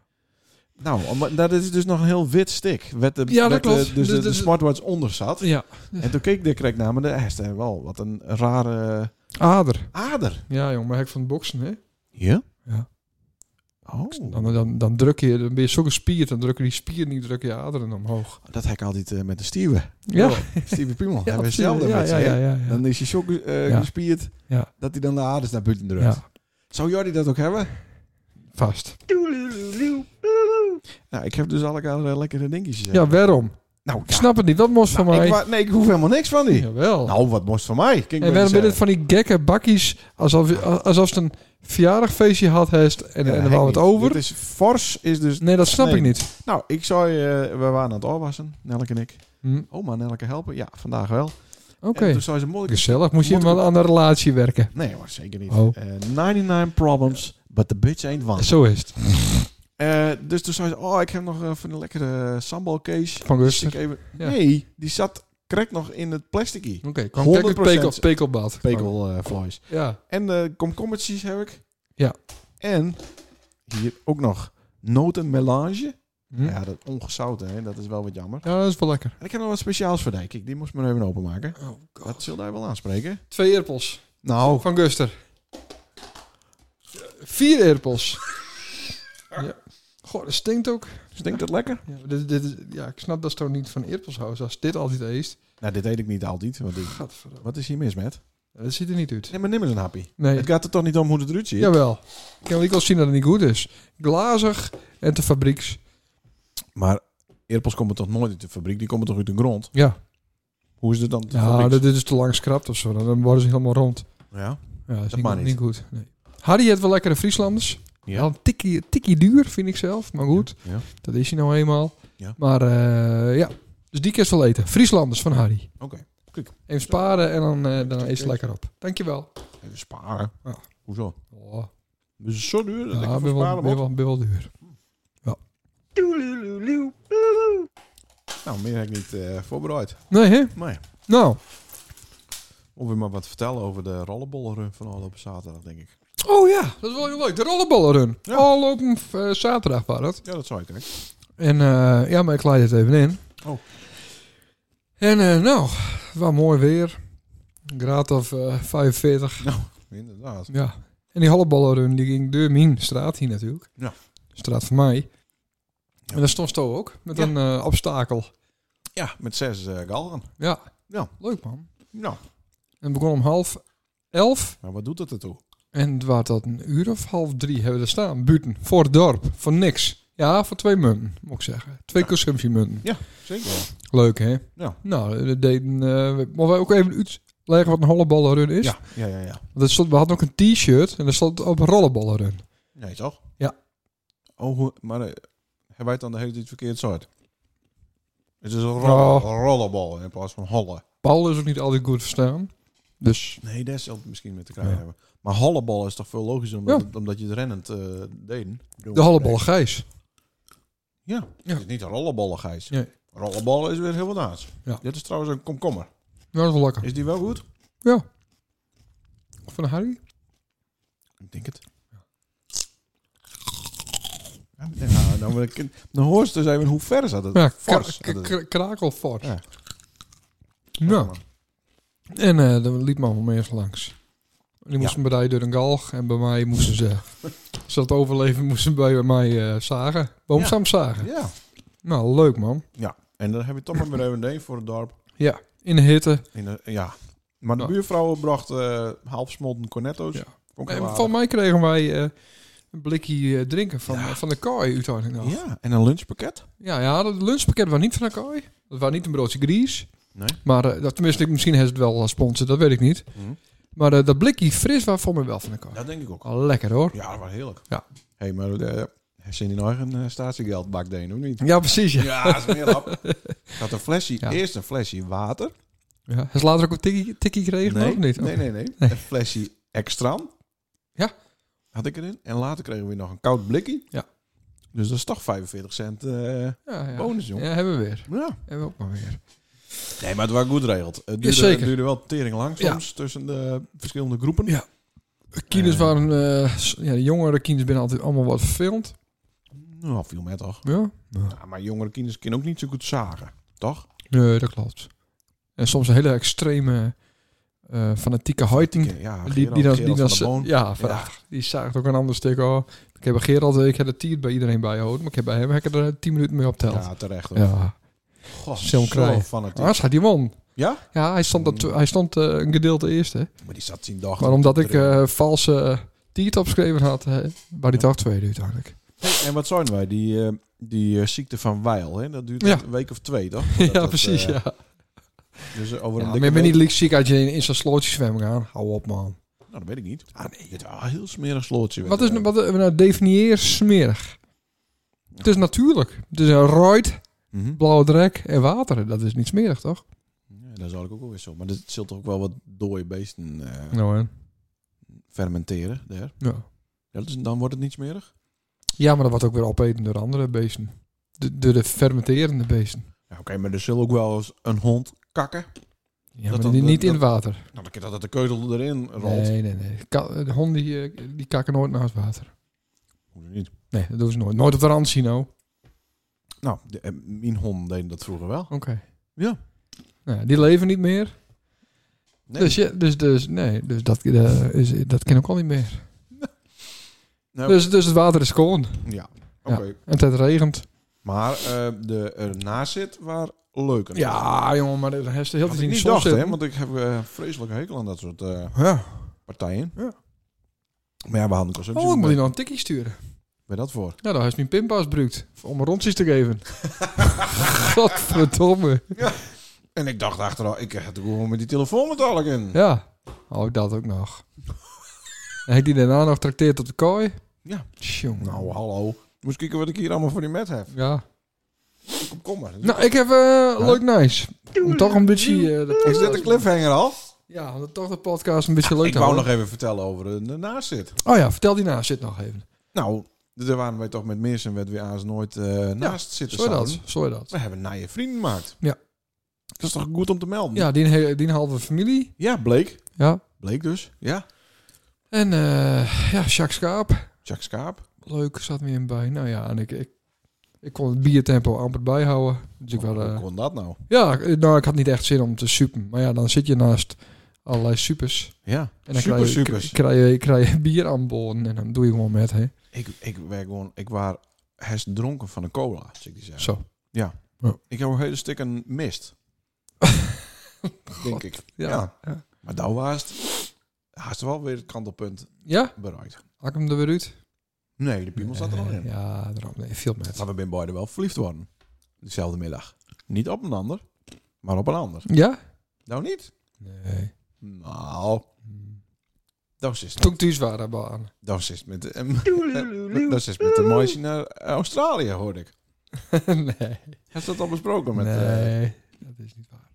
[SPEAKER 2] Nou, maar dat is dus nog een heel wit stick. Werd de,
[SPEAKER 3] Ja, dat
[SPEAKER 2] werd de-
[SPEAKER 3] klopt.
[SPEAKER 2] dus de,
[SPEAKER 3] Dus-
[SPEAKER 2] de
[SPEAKER 3] dus-
[SPEAKER 2] smartwatch onder zat.
[SPEAKER 3] Ja.
[SPEAKER 2] En toen keek de krek naar me. Hij zei wel, wat een rare
[SPEAKER 3] Ader.
[SPEAKER 2] ader.
[SPEAKER 3] Ja, jong, maar hek van het boksen, hè?
[SPEAKER 2] Ja?
[SPEAKER 3] Ja.
[SPEAKER 2] Oh,
[SPEAKER 3] Dan, dan, dan druk je, dan ben je zo gespierd, dan drukken die spieren niet, drukken je aderen omhoog.
[SPEAKER 2] dat heb ik altijd eh, met de Stiewe.
[SPEAKER 3] Ja,
[SPEAKER 2] Oh, Stiewe
[SPEAKER 3] [laughs]
[SPEAKER 2] Piemel. Hebben we
[SPEAKER 3] precies.
[SPEAKER 2] hetzelfde
[SPEAKER 3] ja,
[SPEAKER 2] met
[SPEAKER 3] ja,
[SPEAKER 2] ze, hè?
[SPEAKER 3] ja, ja, ja.
[SPEAKER 2] Dan is je zo eh,
[SPEAKER 3] Ja.
[SPEAKER 2] gespierd
[SPEAKER 3] Ja.
[SPEAKER 2] dat hij dan de aders naar buiten drukt.
[SPEAKER 3] Ja,
[SPEAKER 2] Zou Jordi dat ook hebben?
[SPEAKER 3] vast.
[SPEAKER 2] Nou, ik heb dus alle eh, lekkere dingetjes. eh.
[SPEAKER 3] Ja, waarom?
[SPEAKER 2] Nou, ja.
[SPEAKER 3] Ik snap het niet. Wat moest
[SPEAKER 2] Nou,
[SPEAKER 3] van mij?
[SPEAKER 2] ik wa- nee, ik hoef helemaal niks van die.
[SPEAKER 3] Jawel.
[SPEAKER 2] Nou, wat moest van mij? Kan ik
[SPEAKER 3] en
[SPEAKER 2] wel
[SPEAKER 3] waarom ben het
[SPEAKER 2] zeggen.
[SPEAKER 3] van die gekke bakkies alsof, alsof ze een verjaardagfeestje had heeft en,
[SPEAKER 2] Ja,
[SPEAKER 3] en er
[SPEAKER 2] hek
[SPEAKER 3] wou
[SPEAKER 2] niet.
[SPEAKER 3] het over?
[SPEAKER 2] Dit is fors, is dus
[SPEAKER 3] Nee, dat snap
[SPEAKER 2] Nee.
[SPEAKER 3] ik niet.
[SPEAKER 2] Nou, ik Oh, zou je... we waren aan het afwassen, Nelke en ik.
[SPEAKER 3] Hm.
[SPEAKER 2] Oma, Nelke helpen. Ja, vandaag wel.
[SPEAKER 3] Oké.
[SPEAKER 2] En toen zei ze mooi.
[SPEAKER 3] Gezellig. Moest je
[SPEAKER 2] Moet
[SPEAKER 3] wel
[SPEAKER 2] ik-
[SPEAKER 3] aan de relatie werken.
[SPEAKER 2] [laughs] Nee hoor, zeker niet.
[SPEAKER 3] Oh.
[SPEAKER 2] Eh, 99 problems, but the bitch ain't one.
[SPEAKER 3] Zo is het.
[SPEAKER 2] Eh, dus toen zei ze, oh, ik heb nog eh, van een lekkere sambal case.
[SPEAKER 3] Van
[SPEAKER 2] Dus
[SPEAKER 3] Guster.
[SPEAKER 2] ik even,
[SPEAKER 3] Ja.
[SPEAKER 2] Nee, die zat krek nog in het plasticie.
[SPEAKER 3] Oké. Kwam kijk met
[SPEAKER 2] 100%
[SPEAKER 3] pekel, pekelbad.
[SPEAKER 2] Pekelvlees.
[SPEAKER 3] Ja.
[SPEAKER 2] en de komkommertjes heb ik.
[SPEAKER 3] Ja.
[SPEAKER 2] En hier ook nog notenmelange.
[SPEAKER 3] Hm?
[SPEAKER 2] Ja, dat ongezouten, hè? dat is wel wat jammer.
[SPEAKER 3] Ja, dat is wel lekker.
[SPEAKER 2] En ik heb nog wat speciaals voor die. Kijk, die moest ik maar even openmaken.
[SPEAKER 3] Oh god.
[SPEAKER 2] Dat zul jij wel aanspreken.
[SPEAKER 3] Twee eerpels.
[SPEAKER 2] Nou,
[SPEAKER 3] Van Guster. Vier
[SPEAKER 2] [laughs]
[SPEAKER 3] eerpels. ja. Goh, dat stinkt ook.
[SPEAKER 2] stinkt dat lekker?
[SPEAKER 3] Ja, dit, dit is- ja, ik snap dat ze toch niet van eerpels houden. Als dit altijd eet.
[SPEAKER 2] Nou, dit eet ik niet altijd. Want ik-
[SPEAKER 3] Gadverdamme.
[SPEAKER 2] wat is hier mis met?
[SPEAKER 3] Dat ziet er niet uit.
[SPEAKER 2] Nee, maar nimmer een happy.
[SPEAKER 3] Nee.
[SPEAKER 2] Het gaat er toch niet om hoe het eruit ziet?
[SPEAKER 3] Jawel. Ik kan wel zien dat het niet goed is. Glazig en te fabrieks.
[SPEAKER 2] Maar eerpels komen toch nooit uit de fabriek? Die komen toch uit de grond?
[SPEAKER 3] Ja.
[SPEAKER 2] Hoe is het dan? uit de
[SPEAKER 3] Ja,
[SPEAKER 2] fabriek?
[SPEAKER 3] Nou, dit dit is te lang scrapt of zo. Dan worden ze helemaal rond.
[SPEAKER 2] ja.
[SPEAKER 3] Ja, dat is
[SPEAKER 2] Dat
[SPEAKER 3] niet,
[SPEAKER 2] mag
[SPEAKER 3] goed-
[SPEAKER 2] niet.
[SPEAKER 3] niet goed. Nee. Harry heeft wel lekkere Frieslanders.
[SPEAKER 2] Ja.
[SPEAKER 3] Wel een tikkie, tikkie duur, vind ik zelf. Maar goed,
[SPEAKER 2] Ja.
[SPEAKER 3] dat is hij nou eenmaal.
[SPEAKER 2] Ja.
[SPEAKER 3] Maar eh, ja, dus die kerst wel eten. Frieslanders van Harry.
[SPEAKER 2] Oké,
[SPEAKER 3] Even sparen en dan, eh, dan is het lekker op. Dankjewel.
[SPEAKER 2] even sparen.
[SPEAKER 3] Ja.
[SPEAKER 2] Hoezo?
[SPEAKER 3] Oh,
[SPEAKER 2] Het is zo duur dat
[SPEAKER 3] ja,
[SPEAKER 2] ik
[SPEAKER 3] ben,
[SPEAKER 2] ervoor
[SPEAKER 3] wel,
[SPEAKER 2] sparen
[SPEAKER 3] ben,
[SPEAKER 2] moet.
[SPEAKER 3] wel, ben wel duur.
[SPEAKER 2] Nou, meer heb ik niet eh, voorbereid.
[SPEAKER 3] Nee, hè?
[SPEAKER 2] Maar ja,
[SPEAKER 3] Nou.
[SPEAKER 2] om weer maar wat te vertellen over de rollenbollenrun van afgelopen zaterdag, denk ik.
[SPEAKER 3] Oh ja, dat is wel heel leuk. De rollenballenrun.
[SPEAKER 2] Ja.
[SPEAKER 3] Al op een eh, zaterdag was dat.
[SPEAKER 2] Ja, dat zou ik kijken.
[SPEAKER 3] En eh, ja, maar ik leid het even in.
[SPEAKER 2] Oh.
[SPEAKER 3] En eh, nou, het was mooi weer. Een graad of eh, 45.
[SPEAKER 2] Inderdaad.
[SPEAKER 3] Ja. En die halleballenrun die ging door mijn straat hier natuurlijk.
[SPEAKER 2] Ja.
[SPEAKER 3] Straat van mij.
[SPEAKER 2] Ja.
[SPEAKER 3] En daar stond Sto ook. Met
[SPEAKER 2] Ja.
[SPEAKER 3] een eh, obstakel.
[SPEAKER 2] Ja, met zes eh, galgen.
[SPEAKER 3] Ja.
[SPEAKER 2] Ja.
[SPEAKER 3] Leuk man.
[SPEAKER 2] Nou,
[SPEAKER 3] En het begon om half elf.
[SPEAKER 2] maar wat doet dat ertoe?
[SPEAKER 3] En het was dat een uur of half drie hebben we er staan. Buiten. Voor het dorp. Voor niks. Ja, voor twee munten, moet ik zeggen. Twee consumptiemunten.
[SPEAKER 2] Zeker wel.
[SPEAKER 3] Leuk, hè?
[SPEAKER 2] Ja.
[SPEAKER 3] Nou, dat deden... eh mogen wij ook even uitleggen wat een holleballenrun is?
[SPEAKER 2] Ja, ja, ja, ja.
[SPEAKER 3] Want het stond, we hadden ook een t-shirt en daar stond op rollenballenrun.
[SPEAKER 2] Nee, toch?
[SPEAKER 3] Ja.
[SPEAKER 2] Oh, hoe- maar eh, hebben wij het dan de hele tijd verkeerd soort? Het is een rol-
[SPEAKER 3] Nou.
[SPEAKER 2] rollenbal in plaats van hollen.
[SPEAKER 3] Paul is ook niet altijd goed verstaan. Dus
[SPEAKER 2] Nee, dat zal het misschien met te krijgen
[SPEAKER 3] Ja.
[SPEAKER 2] hebben. Maar hollenbal is toch veel logischer, omdat,
[SPEAKER 3] Ja.
[SPEAKER 2] het- omdat je het rennend eh deed.
[SPEAKER 3] de hollebal Gijs.
[SPEAKER 2] Ja,
[SPEAKER 3] Ja.
[SPEAKER 2] het is niet een rollenballen, Gijs.
[SPEAKER 3] Nee.
[SPEAKER 2] Rollenballen is weer heel wat anders.
[SPEAKER 3] Ja.
[SPEAKER 2] Dit is trouwens een komkommer.
[SPEAKER 3] Nou, dat is wel lekker.
[SPEAKER 2] Is die wel goed?
[SPEAKER 3] Van Harry?
[SPEAKER 2] Ik denk het. Ja, nou, nou, maar ik, dan hoor je dus even hoe ver zat het.
[SPEAKER 3] Ja,
[SPEAKER 2] Fors.
[SPEAKER 3] kra-
[SPEAKER 2] Dat-
[SPEAKER 3] kra- krakelfors.
[SPEAKER 2] Ja.
[SPEAKER 3] Nou, en eh dan liep me allemaal mensen langs. Die moesten bij mij door een galg en bij mij moesten
[SPEAKER 2] [laughs]
[SPEAKER 3] ze... Ze dat overleven moesten bij mij eh, zagen. Boomstam zagen.
[SPEAKER 2] Ja.
[SPEAKER 3] Nou, leuk man.
[SPEAKER 2] En dan heb je toch maar weer even een voor het dorp.
[SPEAKER 3] Ja, in de hitte.
[SPEAKER 2] In de- ja. Maar de
[SPEAKER 3] Ja.
[SPEAKER 2] buurvrouw bracht eh halfsmolten cornetto's.
[SPEAKER 3] Ja.
[SPEAKER 2] Vond ik
[SPEAKER 3] En
[SPEAKER 2] wel aardig.
[SPEAKER 3] van mij kregen wij eh, een blikje eh, drinken van,
[SPEAKER 2] Ja.
[SPEAKER 3] van de kooi uiteindelijk nog.
[SPEAKER 2] Ja, en een lunchpakket.
[SPEAKER 3] Ja, ja, dat lunchpakket was niet van de kooi. Dat was niet een broodje gries.
[SPEAKER 2] Nee.
[SPEAKER 3] Maar eh, dat, tenminste, ik- misschien heeft het wel als sponsor, dat weet ik niet.
[SPEAKER 2] Mhm.
[SPEAKER 3] Maar eh, dat blikje fris was voor mij wel van de kooi.
[SPEAKER 2] Dat denk ik ook.
[SPEAKER 3] Al lekker hoor.
[SPEAKER 2] Ja, dat was heerlijk.
[SPEAKER 3] Ja.
[SPEAKER 2] Hé, hey, maar eh, heeft ze in hun eigen eh, statiegeldbak deen, of niet?
[SPEAKER 3] Ja, precies. Ja.
[SPEAKER 2] Ja, smeerlap. [laughs] Ik had een flesje,
[SPEAKER 3] Ja.
[SPEAKER 2] eerst een flesje water.
[SPEAKER 3] Ja. Heeft ze later ook een tikkie, tikkie gekregen?
[SPEAKER 2] nee,
[SPEAKER 3] Of niet?
[SPEAKER 2] Nee, nee, nee. Een flesje extra.
[SPEAKER 3] Ja.
[SPEAKER 2] Had ik erin. En later kregen we nog een koud blikje.
[SPEAKER 3] Ja.
[SPEAKER 2] Dus dat is toch 45 cent eh,
[SPEAKER 3] Oh, Ja, ja.
[SPEAKER 2] bonus, jongen.
[SPEAKER 3] Ja, hebben we weer.
[SPEAKER 2] Ja.
[SPEAKER 3] Hebben we ook maar weer.
[SPEAKER 2] Nee, maar het was goed geregeld. Het duurde,
[SPEAKER 3] Jazeker.
[SPEAKER 2] het duurde wel tering lang
[SPEAKER 3] Ja.
[SPEAKER 2] soms tussen de verschillende groepen.
[SPEAKER 3] Ja. Kines
[SPEAKER 2] Eh.
[SPEAKER 3] waren... eh, s- ja, de jongere kines binnen altijd allemaal wat vervelend.
[SPEAKER 2] Nou, viel mij toch.
[SPEAKER 3] Ja.
[SPEAKER 2] Ja, maar jongere kinderen kunnen ook niet zo goed zagen,
[SPEAKER 3] Hm.
[SPEAKER 2] toch?
[SPEAKER 3] Nee, dat klopt. En soms een hele extreme eh, fanatieke hoiting.
[SPEAKER 2] Ja,
[SPEAKER 3] die, die dan, die dan,
[SPEAKER 2] van de Boon.
[SPEAKER 3] ja, vraag. Die zaagt ook een ander stuk. Oh, ik heb bij Gerald, eh, ik heb de tiert bij iedereen bijgehouden, maar ik heb bij hem heb ik er eh, 10 minuten mee opteld.
[SPEAKER 2] Ja, terecht. hoor.
[SPEAKER 3] Ja,
[SPEAKER 2] God,
[SPEAKER 3] Sam
[SPEAKER 2] zo
[SPEAKER 3] Krij.
[SPEAKER 2] fanatiek.
[SPEAKER 3] ja. die man.
[SPEAKER 2] Ja?
[SPEAKER 3] Ja, hij stond,
[SPEAKER 2] Hmm.
[SPEAKER 3] dat, hij stond eh, een gedeelte eerste.
[SPEAKER 2] Maar die zat zien dag.
[SPEAKER 3] Maar omdat ik
[SPEAKER 2] Hey,
[SPEAKER 3] eh, valse tiert opgeschreven had, eh, waar die toch tweede uiteindelijk.
[SPEAKER 2] en wat zijn wij? Die, eh, die eh, ziekte van Weil, hè? dat duurt
[SPEAKER 3] Ja.
[SPEAKER 2] een week of twee, toch?
[SPEAKER 3] [laughs] ja,
[SPEAKER 2] Dat dat,
[SPEAKER 3] precies,
[SPEAKER 2] eh,
[SPEAKER 3] ja.
[SPEAKER 2] Dus eh, over
[SPEAKER 3] ja
[SPEAKER 2] een
[SPEAKER 3] maar
[SPEAKER 2] dikke
[SPEAKER 3] je bent
[SPEAKER 2] week-
[SPEAKER 3] niet liek ziek als je in, in zo'n slootje zwemmen gaat. Hou op, man.
[SPEAKER 2] Nou, dat weet ik niet. Ah, nee. Het is wel een heel smerig slootje.
[SPEAKER 3] Wat is
[SPEAKER 2] Eh,
[SPEAKER 3] nou- wat, eh, nou, definieer smerig. Het is natuurlijk. Het is een rooid,
[SPEAKER 2] mhm.
[SPEAKER 3] blauwe drek en water. Dat is niet smerig, toch?
[SPEAKER 2] Ja, dat dat is eigenlijk ook wel weer zo. Maar dat zult toch ook wel wat dode beesten eh,
[SPEAKER 3] Nou, hè.
[SPEAKER 2] fermenteren daar.
[SPEAKER 3] Ja.
[SPEAKER 2] Ja, dus dan wordt het niet smerig.
[SPEAKER 3] ja, maar dat wordt ook weer opeten door andere beesten. De- Door de fermenterende beesten.
[SPEAKER 2] Ja, Oké, maar er zal ook wel eens een hond kakken.
[SPEAKER 3] Ja,
[SPEAKER 2] Dat
[SPEAKER 3] maar
[SPEAKER 2] dan-
[SPEAKER 3] die
[SPEAKER 2] dat-
[SPEAKER 3] niet in
[SPEAKER 2] dat-
[SPEAKER 3] het water.
[SPEAKER 2] Nou, dan kan dat dat de keutel erin rolt.
[SPEAKER 3] Nee, nee, nee. Ka- De honden die, eh, die kakken nooit naast water.
[SPEAKER 2] Hoe dan niet?
[SPEAKER 3] Nee, dat doen ze nooit. Nooit op de rand zien, nou. Oké.
[SPEAKER 2] Nou, de, eh, mijn hond deed dat vroeger wel. Ja.
[SPEAKER 3] Nou, ja, die leven niet meer.
[SPEAKER 2] Nee.
[SPEAKER 3] Dus, ja, dus, dus, nee, dus dat, eh, is, dat ken ik al niet [laughs] meer.
[SPEAKER 2] Nou,
[SPEAKER 3] Dus, dus het water is koud.
[SPEAKER 2] ja, oké.
[SPEAKER 3] Ja. En het regent.
[SPEAKER 2] Maar eh, de ernaast zit waar leuker.
[SPEAKER 3] Ja, jongen, maar dat heeft de hele
[SPEAKER 2] Had ik
[SPEAKER 3] tijd
[SPEAKER 2] niet
[SPEAKER 3] in de zon
[SPEAKER 2] dacht, hè?
[SPEAKER 3] zitten.
[SPEAKER 2] Want ik heb eh vreselijk hekel aan dat soort eh,
[SPEAKER 3] Ja.
[SPEAKER 2] partijen.
[SPEAKER 3] Ja.
[SPEAKER 2] Maar ja, we hadden consumptie.
[SPEAKER 3] Oh, ik moet
[SPEAKER 2] ben
[SPEAKER 3] je nog een tikkie sturen.
[SPEAKER 2] ben dat voor?
[SPEAKER 3] Nou, dan heeft mijn pinpas gebruikt. Om me rondjes te geven. [laughs] Godverdomme.
[SPEAKER 2] En ik dacht achteraf, ik heb het gewoon met die telefoon met allen in.
[SPEAKER 3] Ja. Oh, dat ook [laughs] nog. En ik die daarna nog trakteert op de kooi.
[SPEAKER 2] Ja.
[SPEAKER 3] Tjonge.
[SPEAKER 2] Nou, hallo. Moest kijken wat ik hier allemaal voor die met heb.
[SPEAKER 3] Ja.
[SPEAKER 2] Kom, kom maar.
[SPEAKER 3] Nou, ik heb eh leuk nice. Om toch een beetje...
[SPEAKER 2] is
[SPEAKER 3] eh, de
[SPEAKER 2] dit
[SPEAKER 3] podcast-
[SPEAKER 2] een cliffhanger al?
[SPEAKER 3] Ja, om toch de podcast een beetje leuk
[SPEAKER 2] Ik
[SPEAKER 3] te
[SPEAKER 2] wou
[SPEAKER 3] houden.
[SPEAKER 2] nog even vertellen over een ernaast zit.
[SPEAKER 3] Oh ja, vertel die naast zit nog even.
[SPEAKER 2] Nou, daar waren wij toch met Meers en werd weer aans nooit eh, naast zitten
[SPEAKER 3] Zo dat,
[SPEAKER 2] samen.
[SPEAKER 3] zo dat.
[SPEAKER 2] We hebben naar je vrienden gemaakt.
[SPEAKER 3] Ja.
[SPEAKER 2] Dat is toch goed om te melden?
[SPEAKER 3] Ja, die, he- die halve familie.
[SPEAKER 2] Ja, Blake.
[SPEAKER 3] Ja.
[SPEAKER 2] Blake dus. Ja.
[SPEAKER 3] En eh ja, Jacques Schaap.
[SPEAKER 2] Jack Schaap.
[SPEAKER 3] Leuk, zat me in bij. Nou ja, en ik, ik, ik kon het biertempo amper bijhouden. Dus ik wel,
[SPEAKER 2] Hoe
[SPEAKER 3] eh
[SPEAKER 2] kon dat nou?
[SPEAKER 3] ja, nou, ik had niet echt zin om te supen. Maar ja, dan zit je naast allerlei supers.
[SPEAKER 2] Ja.
[SPEAKER 3] En dan
[SPEAKER 2] super,
[SPEAKER 3] krijg, je,
[SPEAKER 2] supers.
[SPEAKER 3] Krijg, je, krijg je bier aanboden en dan doe je gewoon met, hè.
[SPEAKER 2] Ik, ik, werd gewoon, ik was hers dronken van een cola, als ik die zeg.
[SPEAKER 3] Zo.
[SPEAKER 2] Ik heb een hele stuk een
[SPEAKER 3] [laughs]
[SPEAKER 2] mist. Denk ik.
[SPEAKER 3] Ja.
[SPEAKER 2] Ja.
[SPEAKER 3] ja. ja.
[SPEAKER 2] Maar daar was het haast wel weer het kantelpunt bereikt.
[SPEAKER 3] Hak hem er weer uit?
[SPEAKER 2] Nee, de piemel zat er al in.
[SPEAKER 3] Ja, daarom. Nee, veel met.
[SPEAKER 2] Maar we zijn beide wel verliefd worden. Dezelfde middag. Niet op een ander, maar op een ander.
[SPEAKER 3] Ja?
[SPEAKER 2] Nou niet?
[SPEAKER 3] Nee.
[SPEAKER 2] Nou, dat is het.
[SPEAKER 3] Toen ik thuis waren, baan.
[SPEAKER 2] Dat is het met, de- dat is het met de meisje naar Australië, hoorde ik.
[SPEAKER 3] [laughs] nee.
[SPEAKER 2] Heb je dat al besproken met... eh,
[SPEAKER 3] nee, dat is niet waar.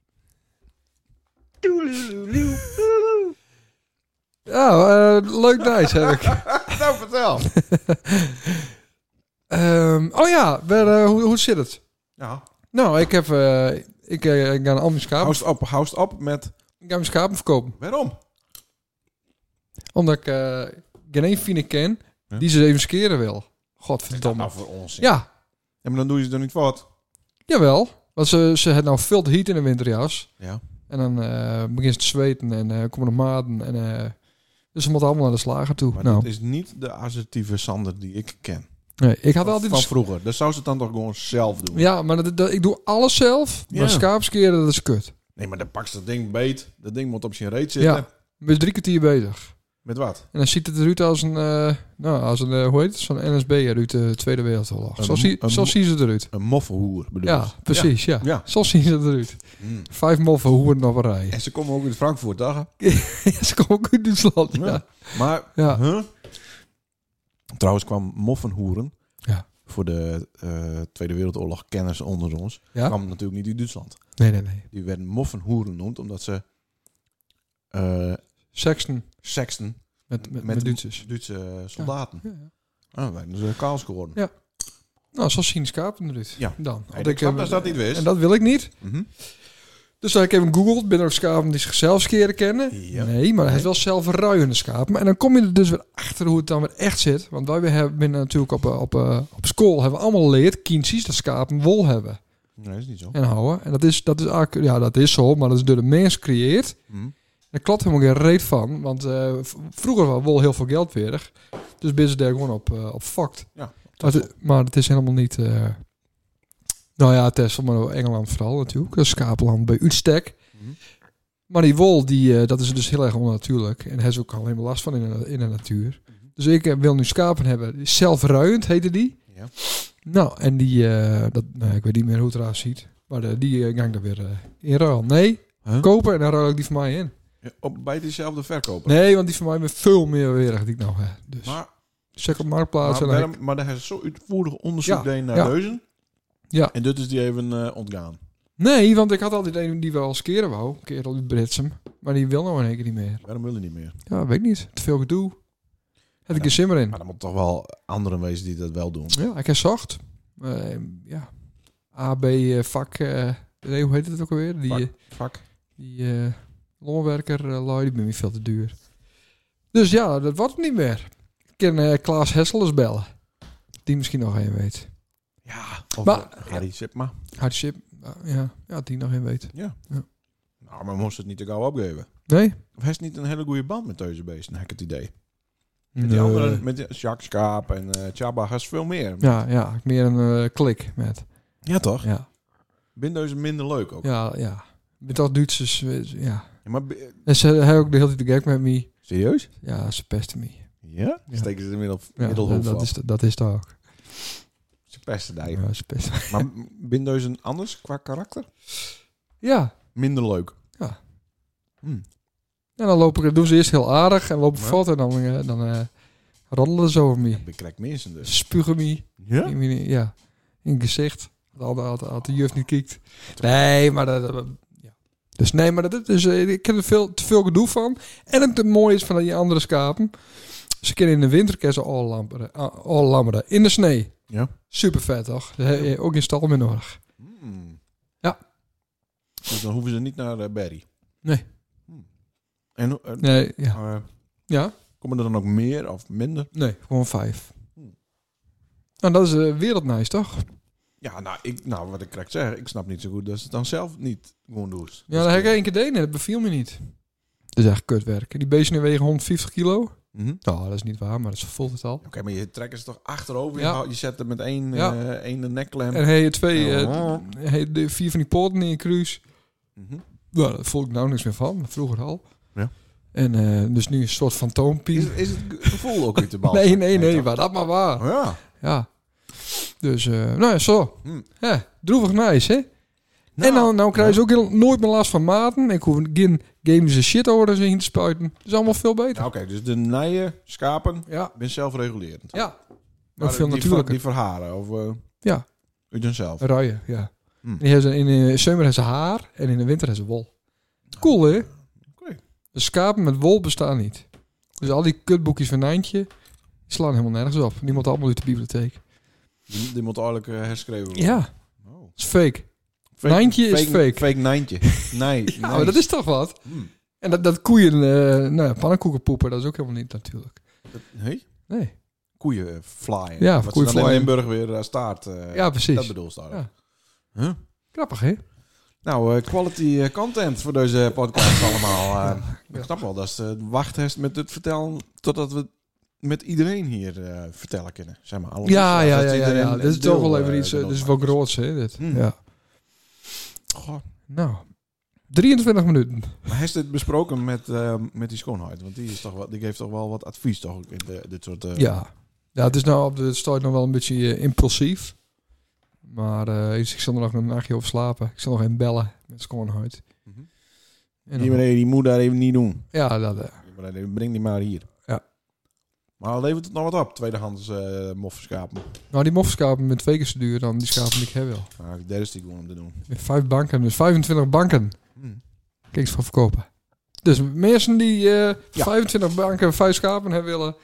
[SPEAKER 3] [laughs] Ja, eh, leuk nice heb ik.
[SPEAKER 2] nou, vertel!
[SPEAKER 3] Ehm, oh ja, maar, eh, hoe, hoe zit het?
[SPEAKER 2] Ja.
[SPEAKER 3] Nou, ik heb... eh, ik, eh, ik ga al mijn schapen,
[SPEAKER 2] Houst op, houst op met...
[SPEAKER 3] ik ga mijn schapen verkopen.
[SPEAKER 2] Waarom?
[SPEAKER 3] Omdat ik eh, geen één fine ken
[SPEAKER 2] Ja. Nou,
[SPEAKER 3] die ze even skeren wil. Godverdomme.
[SPEAKER 2] voor ons. Ja.
[SPEAKER 3] Ja,
[SPEAKER 2] maar dan doe je ze er niet wat.
[SPEAKER 3] jawel. Want ze, ze had nou veel te heat in de winterjas.
[SPEAKER 2] Ja.
[SPEAKER 3] En dan eh, begint ze te zweten en eh, komen de maden. En, eh, dus ze moeten allemaal naar de slager toe.
[SPEAKER 2] Maar
[SPEAKER 3] nou,
[SPEAKER 2] dat is niet de assertieve Sander die ik ken.
[SPEAKER 3] nee, ik had
[SPEAKER 2] Van,
[SPEAKER 3] altijd...
[SPEAKER 2] van vroeger. Dat zou ze dan toch gewoon zelf doen?
[SPEAKER 3] Ja, maar dat, dat- ik doe alles zelf.
[SPEAKER 2] Ja.
[SPEAKER 3] Maar schaapskeren, dat is kut.
[SPEAKER 2] Nee, maar dan pakt ze dat ding beet. Dat ding moet op zijn reet zitten.
[SPEAKER 3] Ja, ik ben drie kwartier bezig.
[SPEAKER 2] Met wat?
[SPEAKER 3] En dan ziet het eruit als een, eh, nou, als een eh, hoe heet het, zo'n NSB'er uit de Tweede Wereldoorlog.
[SPEAKER 2] Een
[SPEAKER 3] Zo,
[SPEAKER 2] mo-
[SPEAKER 3] zie,
[SPEAKER 2] een
[SPEAKER 3] zo
[SPEAKER 2] mo-
[SPEAKER 3] zien ze eruit.
[SPEAKER 2] Een moffelhoer bedoel
[SPEAKER 3] Ja,
[SPEAKER 2] je?
[SPEAKER 3] precies, ja.
[SPEAKER 2] Ja.
[SPEAKER 3] Zo zien ze eruit.
[SPEAKER 2] Hmm.
[SPEAKER 3] Vijf moffen hoeren op een rij.
[SPEAKER 2] En ze komen ook uit Frankfurt, dag. hè?
[SPEAKER 3] [laughs] Ja, ze komen ook uit Duitsland, ja.
[SPEAKER 2] Maar,
[SPEAKER 3] Ja.
[SPEAKER 2] huh? Trouwens kwam moffenhoeren...
[SPEAKER 3] Ja.
[SPEAKER 2] Voor de eh, Tweede Wereldoorlog kenners onder ons...
[SPEAKER 3] Ja.
[SPEAKER 2] kwam natuurlijk niet uit Duitsland.
[SPEAKER 3] Nee, nee, nee.
[SPEAKER 2] Die werden moffenhoeren genoemd omdat ze... eh
[SPEAKER 3] Sexton
[SPEAKER 2] seksten
[SPEAKER 3] met, met,
[SPEAKER 2] Met
[SPEAKER 3] met,
[SPEAKER 2] de-
[SPEAKER 3] Duitsers.
[SPEAKER 2] Duitse soldaten.
[SPEAKER 3] Ja, ja.
[SPEAKER 2] Ah, wij dus uh, kaal scoren.
[SPEAKER 3] Ja. Nou, zo zien schapen eruit.
[SPEAKER 2] Ja.
[SPEAKER 3] Dan.
[SPEAKER 2] Hey,
[SPEAKER 3] Want
[SPEAKER 2] ik snap
[SPEAKER 3] heb-
[SPEAKER 2] dat ze dat niet wist.
[SPEAKER 3] eh, En dat wil ik niet.
[SPEAKER 2] Mhm.
[SPEAKER 3] Dus ik heb hem gegoogeld. Ben er ook schapen die zichzelf skeren kennen?
[SPEAKER 2] Ja.
[SPEAKER 3] Nee, maar hij heeft wel zelf ruiende schapen. En dan kom je er dus weer achter hoe het dan weer echt zit. Want wij hebben binnen natuurlijk op, eh, op, eh, op school hebben we allemaal geleerd kindjes dat schapen wol hebben
[SPEAKER 2] Nee, dat is niet zo.
[SPEAKER 3] en houden. En dat is, dat is eigenlijk, ja, dat is zo, maar dat is door de mens creëert.
[SPEAKER 2] Mhm.
[SPEAKER 3] Daar klopt helemaal geen reet van. Want eh, v- vroeger was wol heel veel geld weerdig. Dus ben ze daar gewoon op, eh op fucked.
[SPEAKER 2] Ja,
[SPEAKER 3] maar, het, maar het is helemaal niet. eh, nou ja, Tesla, maar Engeland vooral natuurlijk. Dat is schaapland bij uitstek.
[SPEAKER 2] Mhm.
[SPEAKER 3] Maar die wol, die, eh, dat is dus heel erg onnatuurlijk. En daar is ook alleen maar last van in de, in de natuur.
[SPEAKER 2] Mhm.
[SPEAKER 3] Dus ik eh, wil nu schapen hebben. Zelfruiend heette die.
[SPEAKER 2] Ja.
[SPEAKER 3] Nou, en die, eh, dat, nou, ik weet niet meer hoe het eruit ziet. Maar eh, die eh, gang daar weer eh, in ruil. Nee,
[SPEAKER 2] Huh?
[SPEAKER 3] kopen en dan ruil ik die van mij in.
[SPEAKER 2] Ja, op, bij diezelfde verkoper.
[SPEAKER 3] Nee, want die van mij weer veel meer weerdig die ik nou heb. Dus
[SPEAKER 2] Maar,
[SPEAKER 3] check op
[SPEAKER 2] maar,
[SPEAKER 3] Marktplaats. en dan-
[SPEAKER 2] waarom- maar daar hebben ze zo uitvoerig onderzoek
[SPEAKER 3] Ja,
[SPEAKER 2] deed naar
[SPEAKER 3] ja.
[SPEAKER 2] deuzen.
[SPEAKER 3] Ja.
[SPEAKER 2] En dit is die even eh, ontgaan.
[SPEAKER 3] Nee, want ik had altijd een die wel als keren wou. Een kerel uit Britsum. Maar die wil nou in één keer niet meer.
[SPEAKER 2] Waarom wil je niet meer?
[SPEAKER 3] Ja, weet ik niet. Te veel gedoe. Heb ik
[SPEAKER 2] Ja.
[SPEAKER 3] een simmer in.
[SPEAKER 2] Maar er moet toch wel anderen wezen die dat wel doen.
[SPEAKER 3] Ja, ik heb zacht. Eh, ja. AB eh, vak. eh, nee, hoe heet het ook alweer? Die,
[SPEAKER 2] Vak.
[SPEAKER 3] eh,
[SPEAKER 2] Fuck.
[SPEAKER 3] die eh longwerker eh, lui, die ben me veel te duur. Dus ja, dat wordt het niet meer. Ik kan eh, Klaas Hesselers bellen. Die misschien nog één weet.
[SPEAKER 2] Ja. Of
[SPEAKER 3] Maar-
[SPEAKER 2] eh, Harry Sipma.
[SPEAKER 3] Hardship. ja, ja, die nog één weet.
[SPEAKER 2] Nou, maar moest het niet te gauw opgeven.
[SPEAKER 3] Nee?
[SPEAKER 2] Of heeft niet een hele goede band met deze beesten, heb ik het idee.
[SPEAKER 3] nee.
[SPEAKER 2] Met die anderen, met die- Jacques Kaap en eh Chaba, has veel meer.
[SPEAKER 3] Ja, ja. ik Meer een eh, klik met.
[SPEAKER 2] Ja, toch?
[SPEAKER 3] Ja,
[SPEAKER 2] Bindo is minder leuk ook.
[SPEAKER 3] ja, ja. Met dat Duitsers. eh, Ja.
[SPEAKER 2] Ja, maar, bi-
[SPEAKER 3] En ze hebben ook de hele tijd de gag met me.
[SPEAKER 2] serieus?
[SPEAKER 3] Ja, ze pesten me.
[SPEAKER 2] Ja?
[SPEAKER 3] Ja.
[SPEAKER 2] Steken ze de middel,
[SPEAKER 3] Ja,
[SPEAKER 2] middelhoofd
[SPEAKER 3] dat, dat
[SPEAKER 2] af.
[SPEAKER 3] is, dat is het ook.
[SPEAKER 2] Ze pesten daar.
[SPEAKER 3] Ja, ze pesten
[SPEAKER 2] Maar Bindo is een anders qua karakter?
[SPEAKER 3] Ja,
[SPEAKER 2] Minder leuk.
[SPEAKER 3] Ja.
[SPEAKER 2] Hm.
[SPEAKER 3] en dan lopen, doen ze eerst heel aardig en lopen
[SPEAKER 2] Ja.
[SPEAKER 3] voort en dan, eh, dan eh, raddelen ze over me.
[SPEAKER 2] Ik krijg mensen dus.
[SPEAKER 3] Spugen me
[SPEAKER 2] Ja?
[SPEAKER 3] in, mijn- ja, in het gezicht. Had de, had, had de juf niet kiekt. Nee, maar dat... dat- ja. Dus nee, maar dat is, eh, ik heb er veel, te veel gedoe van. En het mooie is van die andere schapen. Ze kunnen in de winter kennen ze al lammeren. eh, Al lammeren. In de snee.
[SPEAKER 2] Ja.
[SPEAKER 3] Super vet, toch? Daar heb je Ook in stal meer nodig.
[SPEAKER 2] Hmm.
[SPEAKER 3] Ja.
[SPEAKER 2] Dus dan hoeven ze niet naar eh, Barry.
[SPEAKER 3] Nee.
[SPEAKER 2] Hm. En hoe- eh,
[SPEAKER 3] Nee, ja.
[SPEAKER 2] eh,
[SPEAKER 3] Ja?
[SPEAKER 2] komen er dan ook meer of minder?
[SPEAKER 3] Nee, gewoon vijf.
[SPEAKER 2] Hmm.
[SPEAKER 3] Nou, dat is eh, wereldnice, toch?
[SPEAKER 2] Ja, nou, ik, nou wat ik krijg zeggen, ik snap niet zo goed dat ze het dan zelf niet gewoon doen.
[SPEAKER 3] Ja, dat heb ik één keer deed en dat beviel me niet. Dat is echt kutwerk. Die beesten wegen 150 kilo.
[SPEAKER 2] Mhm.
[SPEAKER 3] Nou, dat is niet waar, maar dat voelt het al.
[SPEAKER 2] Oké, maar je trekt ze toch achterover?
[SPEAKER 3] Ja.
[SPEAKER 2] Je, hou- je zet er met één,
[SPEAKER 3] Ja.
[SPEAKER 2] eh, één nekklem.
[SPEAKER 3] En hij had twee, eh,
[SPEAKER 2] Ja.
[SPEAKER 3] hij had de vier van die poorten in je cruise.
[SPEAKER 2] Mhm.
[SPEAKER 3] Nou, daar voel ik nou niks meer van, maar vroeger al.
[SPEAKER 2] Ja.
[SPEAKER 3] En eh, dus nu een soort
[SPEAKER 2] is,
[SPEAKER 3] fantoompien.
[SPEAKER 2] is het gevoel ook weer
[SPEAKER 3] [laughs]
[SPEAKER 2] te bal?
[SPEAKER 3] Nee, nou. nee, nee, waar dat maar waar.
[SPEAKER 2] Ja.
[SPEAKER 3] Ja. Dus, eh, nou ja, zo.
[SPEAKER 2] Hmm.
[SPEAKER 3] Hè, droevig nice, hè?
[SPEAKER 2] Nou,
[SPEAKER 3] en dan nou krijg je ook heel- nooit meer last van maten. Ik hoef geen games en shit orders in te spuiten. Dat is allemaal veel beter.
[SPEAKER 2] Nou, Oké, dus de nijen, schapen,
[SPEAKER 3] Ja,
[SPEAKER 2] ben zelfregulerend.
[SPEAKER 3] ja.
[SPEAKER 2] Maar
[SPEAKER 3] Maar veel
[SPEAKER 2] die,
[SPEAKER 3] natuurlijker.
[SPEAKER 2] die verharen of eh,
[SPEAKER 3] Ja.
[SPEAKER 2] uit hunzelf.
[SPEAKER 3] Rijen, ja.
[SPEAKER 2] Hmm.
[SPEAKER 3] En Die hebben ze, in de zomer hebben ze haar en in de winter hebben ze wol. Cool, hè?
[SPEAKER 2] Oké.
[SPEAKER 3] De schapen met wol bestaan niet. Dus al die kutboekjes van Nijntje die slaan helemaal nergens op. Die moeten allemaal uit de bibliotheek.
[SPEAKER 2] Die, die moet eigenlijk eh, herschreven worden.
[SPEAKER 3] Ja, dat
[SPEAKER 2] Oh.
[SPEAKER 3] is fake. Nijntje is fake.
[SPEAKER 2] Fake
[SPEAKER 3] [laughs]
[SPEAKER 2] nijntje. Nee,
[SPEAKER 3] Ja, maar Nou, dat is toch wat?
[SPEAKER 2] Hmm.
[SPEAKER 3] En dat, dat koeien, eh nou ja, pannenkoeken poepen, dat is ook helemaal niet natuurlijk.
[SPEAKER 2] Hey?
[SPEAKER 3] Nee.
[SPEAKER 2] Koeien eh, flyen.
[SPEAKER 3] Ja,
[SPEAKER 2] Wat
[SPEAKER 3] koeien
[SPEAKER 2] ze dan in
[SPEAKER 3] flyen.
[SPEAKER 2] Limburg weer eh, staart. eh,
[SPEAKER 3] Ja,
[SPEAKER 2] Dat
[SPEAKER 3] precies.
[SPEAKER 2] bedoel je
[SPEAKER 3] Ja.
[SPEAKER 2] Huh?
[SPEAKER 3] Grappig, hè?
[SPEAKER 2] Nou, eh, quality eh, content voor deze
[SPEAKER 3] [laughs]
[SPEAKER 2] podcast allemaal. eh. Ik snap wel, dat ze wachtest met het vertellen totdat we het met iedereen hier eh, vertellen kunnen. Zeg maar, allemaal.
[SPEAKER 3] Ja, ja,
[SPEAKER 2] Dat
[SPEAKER 3] ja, ja,
[SPEAKER 2] iedereen
[SPEAKER 3] ja.
[SPEAKER 2] een
[SPEAKER 3] Dit is toch
[SPEAKER 2] deel,
[SPEAKER 3] wel even
[SPEAKER 2] eh,
[SPEAKER 3] iets, eh, dit is wel
[SPEAKER 2] ervan maakt.
[SPEAKER 3] groots, hè, dit.
[SPEAKER 2] Hmm.
[SPEAKER 3] Ja.
[SPEAKER 2] Goh,
[SPEAKER 3] Nou, 23 minuten.
[SPEAKER 2] Maar heeft dit besproken met, eh, met die schoonheid? Want die, is toch wel, die geeft toch wel wat advies toch ook in de, dit soort... eh,
[SPEAKER 3] Ja. Ja, het is nou op de start nog wel een beetje eh, impulsief. Maar eh, ik zal er nog een nachtje over slapen. Ik zal nog even bellen met Schoonheid.
[SPEAKER 2] Mhm.
[SPEAKER 3] En
[SPEAKER 2] Die
[SPEAKER 3] dan-
[SPEAKER 2] meneer, die moet daar even niet doen.
[SPEAKER 3] Ja, dat, eh,
[SPEAKER 2] Maar dan Breng die maar hier.
[SPEAKER 3] Ja.
[SPEAKER 2] Maar dan levert het nou wat op, tweedehands eh moffenschapen.
[SPEAKER 3] nou die moffenschapen met twee keer zo duur dan die schapen die ik heb wel.
[SPEAKER 2] Nou, daar is die gewoon om te doen.
[SPEAKER 3] Met vijf banken, dus 25 banken.
[SPEAKER 2] Hm.
[SPEAKER 3] Kijk eens voor verkopen. Dus mensen die eh,
[SPEAKER 2] Ja.
[SPEAKER 3] 25 banken, vijf schapen hebben willen,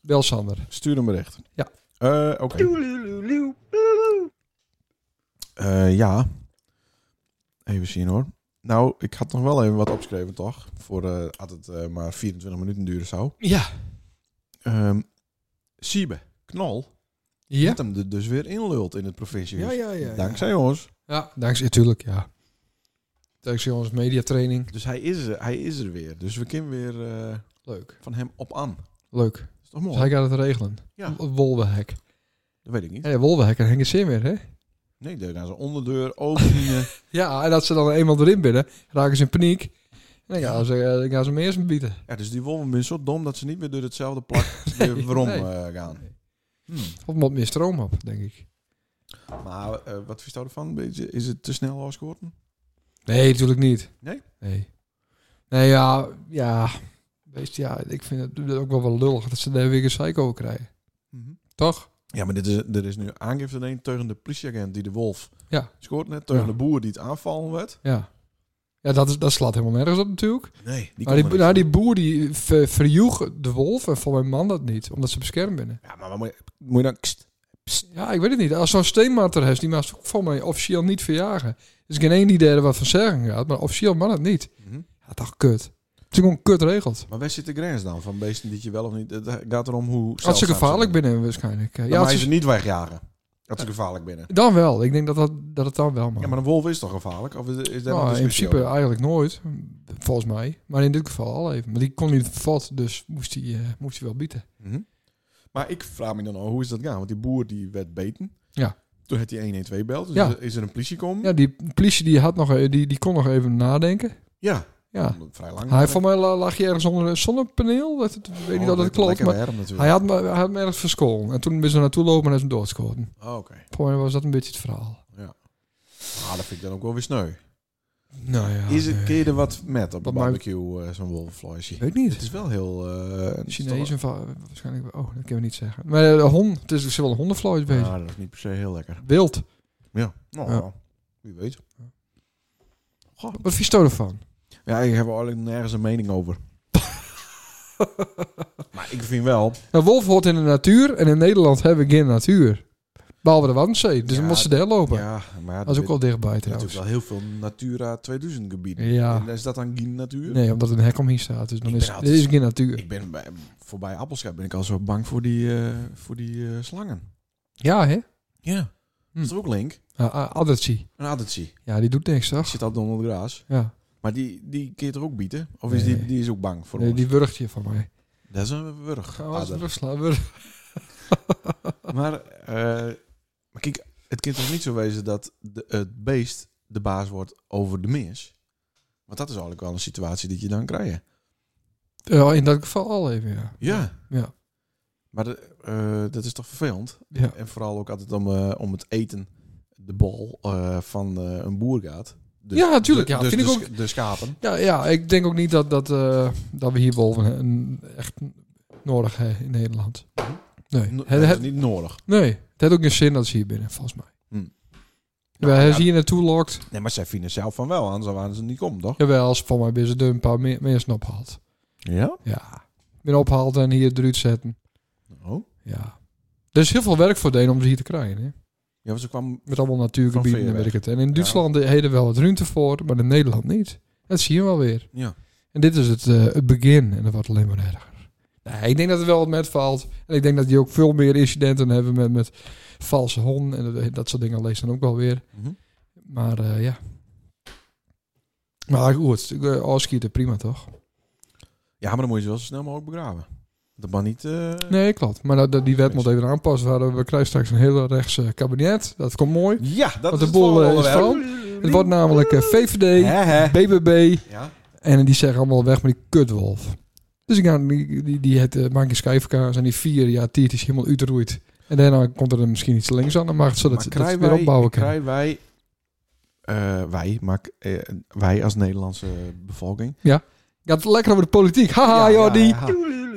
[SPEAKER 3] bel Sander.
[SPEAKER 2] Stuur een bericht.
[SPEAKER 3] Ja.
[SPEAKER 2] Eh, Oké. Eh, ja. Even zien hoor. Nou, ik had nog wel even wat opgeschreven, toch? Voor eh had het eh, maar 24 minuten duren zou.
[SPEAKER 3] Ja.
[SPEAKER 2] Ehm Siebe, knol,
[SPEAKER 3] Ja?
[SPEAKER 2] had hem er dus weer inlult in het provinciehuis.
[SPEAKER 3] Ja, ja, ja.
[SPEAKER 2] Dankzij ons.
[SPEAKER 3] Ja, dankzij, tuurlijk, ja. Dankzij onze mediatraining.
[SPEAKER 2] Dus hij is, er, hij is er weer. Dus we kunnen weer eh,
[SPEAKER 3] Leuk.
[SPEAKER 2] van hem op aan. Dat
[SPEAKER 3] Leuk.
[SPEAKER 2] is toch mooi?
[SPEAKER 3] Dus hij gaat het regelen.
[SPEAKER 2] Ja.
[SPEAKER 3] W- Wolwehek.
[SPEAKER 2] Dat weet ik niet.
[SPEAKER 3] Hé, Wolwehek en Henk Zin weer, hè?
[SPEAKER 2] Nee, daar gaan ze onderdeur
[SPEAKER 3] [laughs]
[SPEAKER 2] overdienen.
[SPEAKER 3] Ja, en dat ze dan eenmaal erin binnen, raken ze in paniek. En dan gaan ze, eh, dan gaan ze hem eerst bieden.
[SPEAKER 2] ja, dus die wolven zijn zo dom dat ze niet meer door hetzelfde plak weer waarom
[SPEAKER 3] [laughs] nee.
[SPEAKER 2] eh, gaan. Hmm.
[SPEAKER 3] Of moet meer stroom op, denk ik.
[SPEAKER 2] Maar eh, wat vind je ervan? Beetje- Is het te snel afschoten?
[SPEAKER 3] Nee, natuurlijk niet.
[SPEAKER 2] Nee?
[SPEAKER 3] Nee. Nee, ja, ja.
[SPEAKER 2] Mhm.
[SPEAKER 3] Wees, ja, ik vind het ook wel wel lullig dat ze daar weer een psycho over krijgen. Toch?
[SPEAKER 2] Ja, maar dit is, er is nu aangifte gedaan tegen de politieagent die de wolf
[SPEAKER 3] Ja.
[SPEAKER 2] scoort net. Tegen
[SPEAKER 3] Ja.
[SPEAKER 2] de boer die het aanvallen werd.
[SPEAKER 3] Ja, ja dat, is, dat slaat helemaal nergens op natuurlijk.
[SPEAKER 2] Nee, die kon
[SPEAKER 3] maar die,
[SPEAKER 2] er niet
[SPEAKER 3] nou,
[SPEAKER 2] van.
[SPEAKER 3] die boer die ver, verjoeg de wolf en voor mijn man dat niet, omdat ze beschermd binnen.
[SPEAKER 2] Ja, maar wat moet je, moet je dan... Kst,
[SPEAKER 3] Ja, ik weet het niet. Als zo'n steenmater heeft, die mag ook voor mij officieel niet verjagen. Er is geen één die er wat van zeggen gaat, maar officieel mag het niet.
[SPEAKER 2] Mhm.
[SPEAKER 3] Ja, toch kut. Het is gewoon kut regeld.
[SPEAKER 2] Maar waar zit de grens dan? Van beesten die je wel of niet... Het gaat erom hoe...
[SPEAKER 3] Als ze
[SPEAKER 2] zeldzaam
[SPEAKER 3] gevaarlijk
[SPEAKER 2] zijn.
[SPEAKER 3] binnen waarschijnlijk. Ja,
[SPEAKER 2] Dan
[SPEAKER 3] als
[SPEAKER 2] mag je
[SPEAKER 3] ze-
[SPEAKER 2] ze niet wegjagen. Als ze gevaarlijk binnen.
[SPEAKER 3] dan wel. Ik denk dat, dat, dat het dan wel mag.
[SPEAKER 2] Ja, maar een wolf is toch gevaarlijk? Of is, is daar nog
[SPEAKER 3] Nou, in
[SPEAKER 2] discussie
[SPEAKER 3] principe
[SPEAKER 2] over?
[SPEAKER 3] eigenlijk nooit, volgens mij. Maar in dit geval al even. Maar die kon niet vat, dus moest hij eh, moest hij wel bieden.
[SPEAKER 2] Mhm. Maar ik vraag me dan al, hoe is dat gaan? Want die boer die werd beten.
[SPEAKER 3] Ja.
[SPEAKER 2] Toen had hij 112 belt. Dus
[SPEAKER 3] Ja.
[SPEAKER 2] is er- is er een politie komen?
[SPEAKER 3] Ja, die politie die, had nog, eh, die, die kon nog even nadenken.
[SPEAKER 2] Ja.
[SPEAKER 3] Ja.
[SPEAKER 2] Vrij lang.
[SPEAKER 3] Hij, voor mij la- lag je ergens onder een zonnepaneel. Dat, dat- ik weet
[SPEAKER 2] Oh,
[SPEAKER 3] niet of dat klopt, maar hij had, me- hij had me ergens verscholen. En toen ben ze naartoe lopen en hij is hem doodgeschoten.
[SPEAKER 2] Oh, Oké.
[SPEAKER 3] Voor mij was dat een beetje het verhaal.
[SPEAKER 2] Ah, dat vind ik dan ook wel weer sneu.
[SPEAKER 3] Nou ja,
[SPEAKER 2] Is het,
[SPEAKER 3] nee.
[SPEAKER 2] kun je er wat met op
[SPEAKER 3] Wat
[SPEAKER 2] een
[SPEAKER 3] mij-
[SPEAKER 2] barbecue, eh, zo'n wolvenvleesje?
[SPEAKER 3] Ik weet niet.
[SPEAKER 2] Het is wel heel... eh
[SPEAKER 3] Chinezen va- waarschijnlijk. Oh, dat kunnen we niet zeggen. Maar eh, de hond, het is dus wel een hondenvlees bezig.
[SPEAKER 2] Ja, dat is niet per se heel lekker.
[SPEAKER 3] Wild.
[SPEAKER 2] Ja. Nou,
[SPEAKER 3] Ja.
[SPEAKER 2] wie weet.
[SPEAKER 3] Wat vies je ervan?
[SPEAKER 2] Ja, ik heb er eigenlijk nergens een mening
[SPEAKER 3] [laughs]
[SPEAKER 2] over. maar ik vind wel...
[SPEAKER 3] Een wolf Nou, hoort in de natuur en in Nederland hebben we geen natuur. Behalve de Waddenzee, dus
[SPEAKER 2] Ja,
[SPEAKER 3] dan moet ze daar lopen.
[SPEAKER 2] Ja, maar
[SPEAKER 3] dat is ook
[SPEAKER 2] dit-
[SPEAKER 3] wel dichtbij
[SPEAKER 2] Er zijn
[SPEAKER 3] trouwens.
[SPEAKER 2] natuurlijk wel heel veel Natura 2000 gebieden.
[SPEAKER 3] Ja.
[SPEAKER 2] En is dat dan geen natuur?
[SPEAKER 3] Nee, omdat er een hek omheen staat, dus dan
[SPEAKER 2] Ik
[SPEAKER 3] is
[SPEAKER 2] ben
[SPEAKER 3] er
[SPEAKER 2] altijd-
[SPEAKER 3] is geen natuur.
[SPEAKER 2] Ik ben bij, voorbij Appelschap ben ik al zo bang voor die, eh, voor die eh, slangen.
[SPEAKER 3] Ja, hè?
[SPEAKER 2] Ja.
[SPEAKER 3] Hm.
[SPEAKER 2] Is er ook link?
[SPEAKER 3] Ah, ah, Adertje.
[SPEAKER 2] Een adertje.
[SPEAKER 3] Ja, die doet niks,
[SPEAKER 2] Die
[SPEAKER 3] toch?
[SPEAKER 2] zit altijd onder het gras.
[SPEAKER 3] Ja,
[SPEAKER 2] Maar die, die keert er ook bieten? Of is die,
[SPEAKER 3] Nee.
[SPEAKER 2] die is ook bang voor
[SPEAKER 3] nee,
[SPEAKER 2] ons?
[SPEAKER 3] die wurgt je van mij.
[SPEAKER 2] Dat is een wurg.
[SPEAKER 3] Ga
[SPEAKER 2] ader.
[SPEAKER 3] wurg.
[SPEAKER 2] Maar, eh, maar kijk, het kan toch niet zo wezen dat de, het beest de baas wordt over de mens? Want dat is eigenlijk wel een situatie die je dan krijgt.
[SPEAKER 3] Ja, in dat geval al even, ja.
[SPEAKER 2] Ja.
[SPEAKER 3] Ja.
[SPEAKER 2] Maar de- eh, dat is toch vervelend?
[SPEAKER 3] Ja,
[SPEAKER 2] En vooral ook altijd om, eh, om het eten, de bal eh, van eh, een boer gaat. Dus-
[SPEAKER 3] Ja, tuurlijk,
[SPEAKER 2] de-
[SPEAKER 3] ja,
[SPEAKER 2] dus
[SPEAKER 3] vind
[SPEAKER 2] de,
[SPEAKER 3] ik
[SPEAKER 2] sk- De schapen.
[SPEAKER 3] ja, ja ik denk ook niet dat, dat, eh, dat we hier wolven eh, echt nodig hebben in Nederland. Nee,
[SPEAKER 2] No-
[SPEAKER 3] het,
[SPEAKER 2] dat is
[SPEAKER 3] het,
[SPEAKER 2] niet nodig.
[SPEAKER 3] nee, het heeft ook geen zin dat ze hier binnen, volgens mij.
[SPEAKER 2] Hm.
[SPEAKER 3] Wij hebben ze hier naartoe lokt.
[SPEAKER 2] Nee, maar zij vinden zelf van wel, anders waren ze niet komen, toch?
[SPEAKER 3] Jawel, als van mij binnen een paar me- mensen ophaalt.
[SPEAKER 2] Ja.
[SPEAKER 3] Ja. Binnen ophaalt en hier eruit zetten.
[SPEAKER 2] Oh.
[SPEAKER 3] Ja. Er is heel veel werk voor deen om ze hier te krijgen. Hè?
[SPEAKER 2] Ja, want ze kwam...
[SPEAKER 3] Met allemaal
[SPEAKER 2] Van
[SPEAKER 3] natuurgebieden en
[SPEAKER 2] veerweg.
[SPEAKER 3] weet ik het. En in Duitsland heden wel wat ruimte voor, maar in Nederland niet. Dat zie je wel weer.
[SPEAKER 2] Ja.
[SPEAKER 3] En dit is het, eh, het begin en dat wordt alleen maar erger. Nee, ik denk dat er wel wat met valt. En ik denk dat je ook veel meer incidenten hebben met, met valse honden. En dat, dat soort dingen lees dan ook wel weer.
[SPEAKER 2] Mhm.
[SPEAKER 3] Maar eh, ja. Maar goed, eh, afschieten prima toch?
[SPEAKER 2] Ja, maar dan moet je ze wel zo snel mogelijk begraven. Dat mag niet... eh,
[SPEAKER 3] Nee, klopt. Maar dat, dat- die wet moet even aanpassen. We, hadden- we krijgen straks een heel rechts eh, kabinet. Dat komt mooi.
[SPEAKER 2] Ja, dat
[SPEAKER 3] Want
[SPEAKER 2] is
[SPEAKER 3] de
[SPEAKER 2] het
[SPEAKER 3] boel eh,
[SPEAKER 2] volgende
[SPEAKER 3] is
[SPEAKER 2] onderwerp.
[SPEAKER 3] van. Het wordt namelijk eh, VVD,
[SPEAKER 2] Hè, hè.
[SPEAKER 3] BBB.
[SPEAKER 2] Ja.
[SPEAKER 3] En die zeggen allemaal weg met die kutwolf. Dus ik ga die, die, die het uh, Maakje Skyverkaas en die vier, ja, tiert is helemaal uitroeit. En daarna komt er misschien iets links aan, dan mag het zodat
[SPEAKER 2] Maar
[SPEAKER 3] ze het
[SPEAKER 2] krijgen
[SPEAKER 3] weer
[SPEAKER 2] wij...
[SPEAKER 3] opbouwen kan.
[SPEAKER 2] krijgen wij... eh, wij, maar k- eh, wij als Nederlandse bevolking.
[SPEAKER 3] Gaat lekker over de politiek. Haha,
[SPEAKER 2] Ja,
[SPEAKER 3] Jordi.
[SPEAKER 2] ja,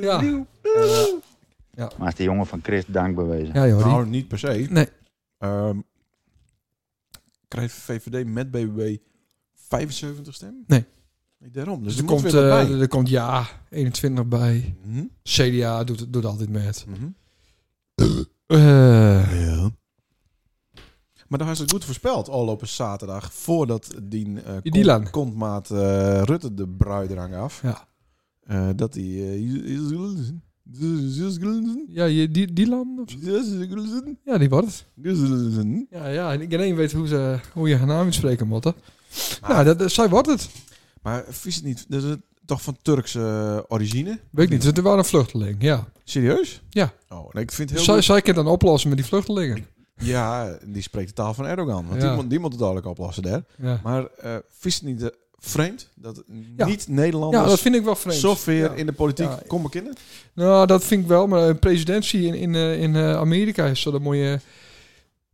[SPEAKER 2] ja.
[SPEAKER 3] Ja.
[SPEAKER 2] Eh,
[SPEAKER 5] Maar is die jongen van Chris dankbewezen?
[SPEAKER 3] Ja, Jordi.
[SPEAKER 2] Nou, niet per se.
[SPEAKER 3] Nee.
[SPEAKER 2] Ehm, krijgt VVD met BBB 75 stemmen?
[SPEAKER 3] Nee.
[SPEAKER 2] Nee, daarom. Dus
[SPEAKER 3] Dus
[SPEAKER 2] er
[SPEAKER 3] er
[SPEAKER 2] moet
[SPEAKER 3] komt,
[SPEAKER 2] weer wat
[SPEAKER 3] eh,
[SPEAKER 2] bij.
[SPEAKER 3] er komt ja 21 bij.
[SPEAKER 2] Mhm,
[SPEAKER 3] CDA doet, doet altijd met.
[SPEAKER 2] mhm.
[SPEAKER 3] Eh,
[SPEAKER 2] Maar daar is het goed voorspeld afgelopen zaterdag. Voordat die eh,
[SPEAKER 3] Die Dylan.
[SPEAKER 2] kontmaat eh, Rutte de bruidrang af.
[SPEAKER 3] Ja.
[SPEAKER 2] eh, dat hij...
[SPEAKER 3] ja, je, die, die land of zo? Ja, die wordt het. Ja, ja, en iedereen weet hoe, ze, hoe je haar naam uitspreken moet, hè.
[SPEAKER 2] Ah.
[SPEAKER 3] Nou, dat, dat- zij wordt het.
[SPEAKER 2] maar vies het niet. Dat is toch van Turkse origine?
[SPEAKER 3] Weet ik niet, het waren een vluchteling, ja.
[SPEAKER 2] Serieus?
[SPEAKER 3] Ja.
[SPEAKER 2] Oh, nee, ik vind het heel
[SPEAKER 3] Zij, zij kan dan oplossen met die vluchtelingen.
[SPEAKER 2] Ja, die spreekt de taal van Erdogan. Want
[SPEAKER 3] Ja.
[SPEAKER 2] die, moet, die moet het duidelijk oplossen daar.
[SPEAKER 3] Ja.
[SPEAKER 2] Maar eh vies het niet eh, vreemd dat
[SPEAKER 3] Ja. ja,
[SPEAKER 2] niet-Nederlanders
[SPEAKER 3] dat vind ik wel vreemd.
[SPEAKER 2] zover
[SPEAKER 3] Ja.
[SPEAKER 2] in de politiek
[SPEAKER 3] Ja.
[SPEAKER 2] komen kennen?
[SPEAKER 3] Nou, dat vind ik wel, maar een presidentie in, in, eh, in eh, Amerika is zo dat mooie...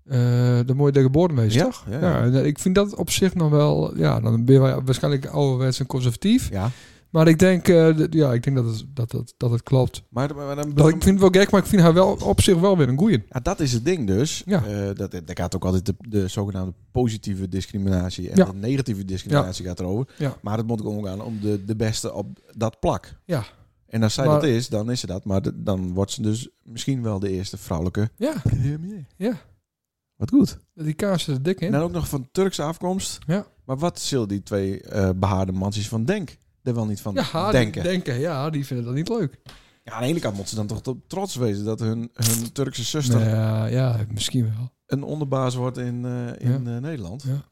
[SPEAKER 3] eh de mooie de geboren wezen, toch?
[SPEAKER 2] Ja,
[SPEAKER 3] Ja,
[SPEAKER 2] ja.
[SPEAKER 3] en, eh, ik vind dat op zich nog wel... Ja, dan ben je waarschijnlijk ouderwets en conservatief.
[SPEAKER 2] Ja.
[SPEAKER 3] Maar ik denk, eh, dat- ja, ik denk dat, het, dat, dat, dat het klopt.
[SPEAKER 2] Maar, maar, maar dan-
[SPEAKER 3] Dat, ik vind het wel gek, maar ik vind haar wel op zich wel weer een goeie.
[SPEAKER 2] ja, dat is het ding dus.
[SPEAKER 3] Ja.
[SPEAKER 2] Eh, dat, daar gaat ook altijd de, de zogenaamde positieve discriminatie en
[SPEAKER 3] Ja.
[SPEAKER 2] de negatieve discriminatie gaat erover.
[SPEAKER 3] Ja.
[SPEAKER 2] Maar het moet ook omgaan om de, de beste op dat plak.
[SPEAKER 3] Ja.
[SPEAKER 2] En als zij
[SPEAKER 3] Maar-
[SPEAKER 2] dat is, dan is ze dat. Maar de- dan wordt ze dus misschien wel de eerste vrouwelijke
[SPEAKER 3] Ja,
[SPEAKER 2] premier.
[SPEAKER 3] Ja.
[SPEAKER 2] Wat goed.
[SPEAKER 3] die kaas zit er dik in.
[SPEAKER 2] En dan ook nog van Turkse afkomst.
[SPEAKER 3] Ja.
[SPEAKER 2] Maar wat zullen die twee eh, behaarde mansjes van Denk er wel niet van
[SPEAKER 3] ja, die
[SPEAKER 2] denken?
[SPEAKER 3] denken. Ja, die vinden dat niet leuk.
[SPEAKER 2] Ja, aan de ene kant moeten ze dan toch t- trots wezen dat hun, hun Turkse zuster
[SPEAKER 3] Nou ja, ja, misschien wel.
[SPEAKER 2] een onderbaas wordt in, eh, in eh, Nederland.
[SPEAKER 3] Ja.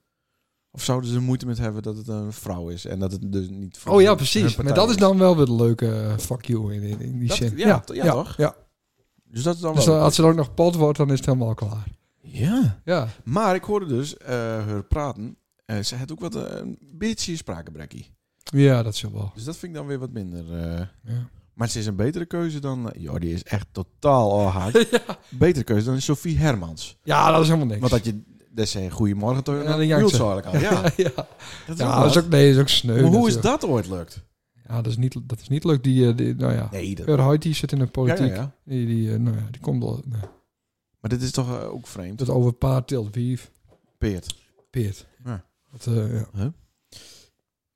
[SPEAKER 2] Of zouden ze er moeite met hebben dat het een vrouw is en dat het dus niet voor
[SPEAKER 3] Oh ja,
[SPEAKER 2] hun
[SPEAKER 3] precies.
[SPEAKER 2] partij
[SPEAKER 3] Maar dat is dan wel weer de leuke eh, fuck you in, in, in die
[SPEAKER 2] Dat-
[SPEAKER 3] zin.
[SPEAKER 2] ja, t- ja, toch?
[SPEAKER 3] Ja.
[SPEAKER 2] Dus dat is dan
[SPEAKER 3] Dus
[SPEAKER 2] wel...
[SPEAKER 3] dan- als ze dan ook nog pot wordt, dan is het helemaal klaar.
[SPEAKER 2] Ja.
[SPEAKER 3] Ja,
[SPEAKER 2] Maar ik hoorde dus eh haar praten. Eh, ze had ook wat eh, een beetje spraakgebrekkie.
[SPEAKER 3] ja dat is wel.
[SPEAKER 2] Dus dat vind ik dan weer wat minder... eh. [laughs]
[SPEAKER 3] Ja.
[SPEAKER 2] Maar ze is een betere keuze dan... eh, joh, die is echt totaal al
[SPEAKER 3] [laughs]
[SPEAKER 2] haak. Betere keuze dan Sophie Hermans.
[SPEAKER 3] ja, dat is helemaal niks.
[SPEAKER 2] Want dat je... Dat zei goedemorgen toch?
[SPEAKER 3] Ja,
[SPEAKER 2] Ja,
[SPEAKER 3] dan jankt ze.
[SPEAKER 2] eigenlijk al. Ja, dat
[SPEAKER 3] [laughs] ja,
[SPEAKER 2] is, ook
[SPEAKER 3] ja dat is
[SPEAKER 2] wat.
[SPEAKER 3] ook, nee, dat is ook sneu.
[SPEAKER 2] Maar hoe is
[SPEAKER 3] natuurlijk.
[SPEAKER 2] dat ooit lukt?
[SPEAKER 3] Ja, dat is niet, dat is niet leuk. Die, eh, die nou ja,
[SPEAKER 2] Nee, dat...
[SPEAKER 3] Per Hoyt, die zit in de
[SPEAKER 2] Ja,
[SPEAKER 3] politiek.
[SPEAKER 2] ja, ja.
[SPEAKER 3] Die, die, eh, nou ja, die komt al. nee.
[SPEAKER 2] Maar dit is toch eh, ook vreemd?
[SPEAKER 3] Dat over paard tilt wief.
[SPEAKER 2] Peert.
[SPEAKER 3] Peert.
[SPEAKER 2] Ja.
[SPEAKER 3] Dat, eh, ja.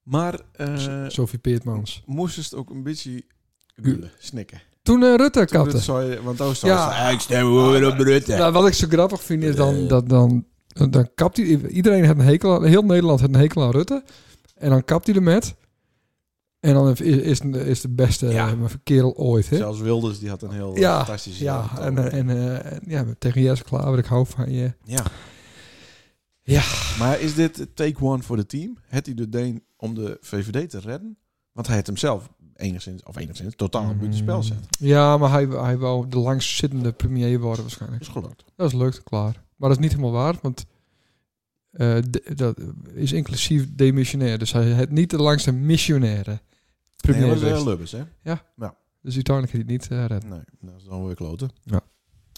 [SPEAKER 2] Maar eh
[SPEAKER 3] Sophie Peertmans.
[SPEAKER 2] moest het ook een beetje gulen, snikken.
[SPEAKER 3] Toen eh, Rutte
[SPEAKER 2] Dat
[SPEAKER 3] kapte.
[SPEAKER 2] zou je, want dan zou
[SPEAKER 3] Ja.
[SPEAKER 2] je zeggen, ik stem weer op Rutte.
[SPEAKER 3] Nou, wat ik zo grappig vind is dan dat dan, dan kapt hij. Iedereen had een hekel aan, heel Nederland had een hekel aan Rutte. En dan kapt hij er met. En dan is, is, is de beste
[SPEAKER 2] Ja.
[SPEAKER 3] eh, kerel ooit. Hè?
[SPEAKER 2] Zelfs Wilders die had een heel
[SPEAKER 3] Ja,
[SPEAKER 2] fantastische...
[SPEAKER 3] Ja, en,
[SPEAKER 2] toon.
[SPEAKER 3] eh, en, eh, en ja, tegen Jesse Klaver, ik hou van je.
[SPEAKER 2] ja.
[SPEAKER 3] Ja.
[SPEAKER 2] Maar is dit take one voor het team? Het hij de Deen om de VVD te redden? Want hij had hem zelf enigszins, of enigszins, totaal buiten het spel zetten.
[SPEAKER 3] Ja, maar hij, hij wou de langstzittende premier worden waarschijnlijk.
[SPEAKER 2] Is gelukt.
[SPEAKER 3] Dat is lukt, klaar. Maar dat is niet helemaal waar, want eh, de- dat is inclusief demissionair. Dus hij het niet de langste missionaire premier
[SPEAKER 2] Nee, dat is
[SPEAKER 3] geweest.
[SPEAKER 2] eh, Lubbers, hè?
[SPEAKER 3] Dus uiteindelijk had hij het niet eh, redden.
[SPEAKER 2] Nee, dat is dan weer kloten.
[SPEAKER 3] Ja.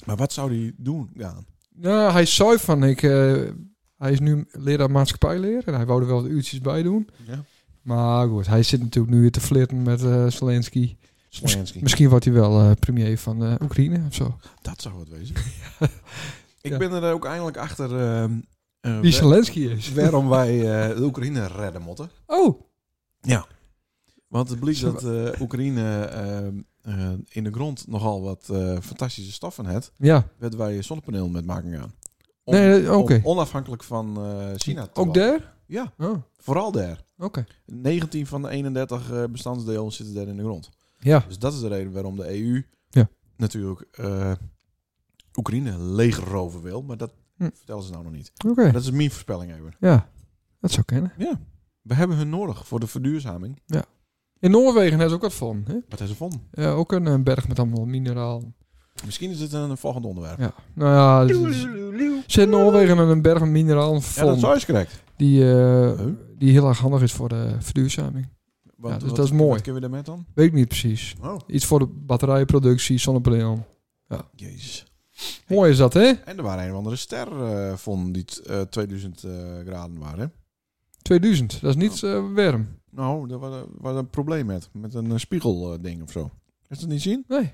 [SPEAKER 2] Maar wat zou hij doen, Gaan?
[SPEAKER 3] Nou, hij zei van, ik, eh, hij is nu leraar maatschappijleer en hij wou er wel wat uurtjes bij doen.
[SPEAKER 2] Ja.
[SPEAKER 3] Maar goed, hij zit natuurlijk nu weer te flirten met eh Zelensky.
[SPEAKER 2] Slansky.
[SPEAKER 3] Misschien wordt hij wel eh, premier van eh, Oekraïne of zo.
[SPEAKER 2] Dat zou het
[SPEAKER 3] [laughs]
[SPEAKER 2] wezen. Ik
[SPEAKER 3] Ja.
[SPEAKER 2] ben er ook eindelijk achter ehm, eh,
[SPEAKER 3] Wie
[SPEAKER 2] wa-
[SPEAKER 3] Zelensky is.
[SPEAKER 2] waarom wij eh, de Oekraïne redden motten.
[SPEAKER 3] Oh,
[SPEAKER 2] Want het blijkt dat eh, Oekraïne ehm, eh, in de grond nogal wat eh, fantastische stoffen heeft.
[SPEAKER 3] ja.
[SPEAKER 2] Werden wij zonnepanelen met maken aan. Om-
[SPEAKER 3] Nee, eh, oké.
[SPEAKER 2] om onafhankelijk van eh, China te
[SPEAKER 3] Ook
[SPEAKER 2] worden.
[SPEAKER 3] daar?
[SPEAKER 2] Ja,
[SPEAKER 3] Oh, oké.
[SPEAKER 2] vooral daar. 19 van de 31 eh, bestandsdelen zitten daar in de grond.
[SPEAKER 3] Ja.
[SPEAKER 2] Dus dat is de reden waarom de EU
[SPEAKER 3] Ja.
[SPEAKER 2] natuurlijk eh, Oekraïne leger roven wil. Maar dat
[SPEAKER 3] Hm.
[SPEAKER 2] vertellen ze nou nog niet.
[SPEAKER 3] Oké.
[SPEAKER 2] Dat is mijn voorspelling even.
[SPEAKER 3] Ja, dat zou kennen.
[SPEAKER 2] Ja, we hebben hun nodig voor de verduurzaming.
[SPEAKER 3] In Noorwegen hebben ze ook wat van. Hè?
[SPEAKER 2] Wat hebben ze vonden?
[SPEAKER 3] Ja, ook een, eh, berg met allemaal mineraal.
[SPEAKER 2] Misschien is dit een volgend onderwerp.
[SPEAKER 3] Ja. Nou ja, het is- ze in Noorwegen met een berg met mineraal
[SPEAKER 2] Ja, dat
[SPEAKER 3] van.
[SPEAKER 2] zou je correct.
[SPEAKER 3] die, eh,
[SPEAKER 2] Huh?
[SPEAKER 3] die heel erg handig is voor de verduurzaming.
[SPEAKER 2] Want,
[SPEAKER 3] Ja, dus
[SPEAKER 2] wat-
[SPEAKER 3] dat is mooi.
[SPEAKER 2] Wat kunnen we daarmee dan?
[SPEAKER 3] Weet ik niet precies.
[SPEAKER 2] Oh,
[SPEAKER 3] Iets voor de batterijproductie, zonnepaneel.
[SPEAKER 2] jezus.
[SPEAKER 3] Mooi is dat, hè?
[SPEAKER 2] En er waren een of andere ster eh, vonden die t- eh, 2000 eh, graden waren.
[SPEAKER 3] 2000, dat is niet eh, warm.
[SPEAKER 2] Nou, daar was, was een probleem met. Met een eh, spiegelding of zo. Is dat niet zien? [laughs]
[SPEAKER 3] Nee.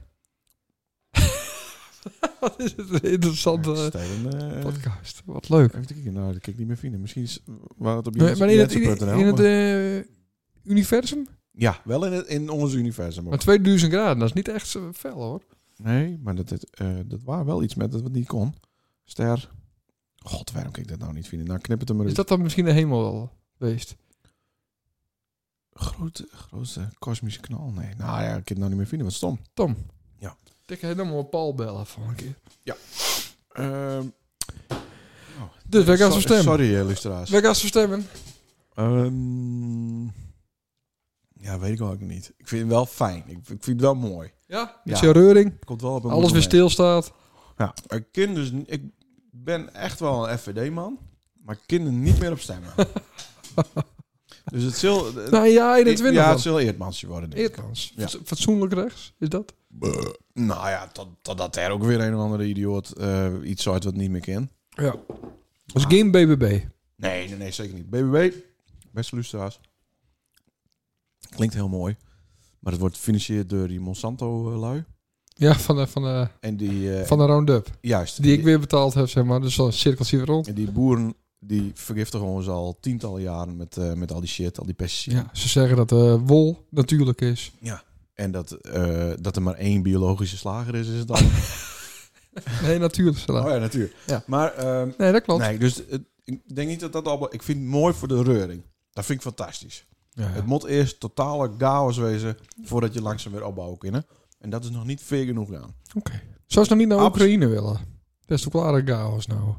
[SPEAKER 3] Wat is het een interessante
[SPEAKER 2] Ik
[SPEAKER 3] eh,
[SPEAKER 2] stel een, eh,
[SPEAKER 3] podcast. Wat leuk.
[SPEAKER 2] Even te kijken. Nou, dat kan ik niet meer vinden. Misschien is, waar het op
[SPEAKER 3] Nee, maar in het, in het,
[SPEAKER 2] Jensen.nl,
[SPEAKER 3] in het
[SPEAKER 2] maar-
[SPEAKER 3] eh, universum?
[SPEAKER 2] Ja, wel in, het, in ons universum. ook.
[SPEAKER 3] Maar 2000 graden, dat is niet echt zo fel hoor.
[SPEAKER 2] Nee, maar dat, het, eh dat waar wel iets met dat wat niet kon. Ster. God, waarom kan ik dat nou niet vinden? Nou, knip het er maar
[SPEAKER 3] Is
[SPEAKER 2] uit.
[SPEAKER 3] dat dan misschien de hemel wel geweest?
[SPEAKER 2] Grote, grote kosmische knal. Nee, nou ja, ik kan het nou niet meer vinden. Wat stom.
[SPEAKER 3] Tom.
[SPEAKER 2] Ja.
[SPEAKER 3] Ik ga helemaal Paul bellen voor een keer.
[SPEAKER 2] Ehm
[SPEAKER 3] Dus wij gaan zo stemmen.
[SPEAKER 2] Sorry, eh, luisteraars.
[SPEAKER 3] Wij gaan zo stemmen.
[SPEAKER 2] Ehm, ja, weet ik ook niet. Ik vind het wel fijn. Ik, ik vind het wel mooi.
[SPEAKER 3] Ja? Met
[SPEAKER 2] Ja.
[SPEAKER 3] je reuring.
[SPEAKER 2] Het komt wel op een
[SPEAKER 3] Alles weer
[SPEAKER 2] moment.
[SPEAKER 3] stilstaat.
[SPEAKER 2] Eh, Ja, ik, ken dus, n- ik ben echt wel een FVD-man. Maar ik kan er niet meer op
[SPEAKER 3] [laughs]
[SPEAKER 2] stemmen. dus het zal...
[SPEAKER 3] Nou ja, 21
[SPEAKER 2] eh, ja, het
[SPEAKER 3] dan.
[SPEAKER 2] zal Eerdmansje worden. denk ik.
[SPEAKER 3] Eertmans.
[SPEAKER 2] Ja.
[SPEAKER 3] Fatso- Fatsoenlijk rechts, is dat?
[SPEAKER 2] Buh. Nou ja, tot, totdat er ook weer een of andere idioot eh, iets uit wat niet meer kent.
[SPEAKER 3] Ja. Als game BBB.
[SPEAKER 2] Nee, nee, nee, zeker niet. BBB, beste luisteraars. Ik Klinkt heel mooi. Maar het wordt gefinancierd door die Monsanto-lui.
[SPEAKER 3] Ja, van de, van de,
[SPEAKER 2] En die... eh,
[SPEAKER 3] van de Roundup.
[SPEAKER 2] juist.
[SPEAKER 3] Die ik weer betaald heb, zeg maar. Dus dan cirkelt hij weer rond.
[SPEAKER 2] En die boeren die vergiftigen ons al tientallen jaren met, eh, met al die shit, al die pesticiden.
[SPEAKER 3] Ja, ze zeggen dat eh, wol natuurlijk is.
[SPEAKER 2] En dat, eh, dat er maar één biologische slager is, is het
[SPEAKER 3] [laughs]
[SPEAKER 2] al. oh
[SPEAKER 3] Nee, natuurlijk. Sla.
[SPEAKER 2] ja, natuurlijk.
[SPEAKER 3] Ja.
[SPEAKER 2] Maar ehm,
[SPEAKER 3] Nee, dat klopt.
[SPEAKER 2] Oh nee, dus het- ik denk niet dat dat al... Ik vind het mooi voor de reuring. Dat vind ik fantastisch.
[SPEAKER 3] Ja, ja.
[SPEAKER 2] Het moet eerst totale chaos wezen voordat je langzaam weer opbouwen kunnen. En dat is nog niet veel genoeg aan.
[SPEAKER 3] Zou ze nog niet naar
[SPEAKER 2] Abs-
[SPEAKER 3] Oekraïne willen? Best wel klare chaos nou.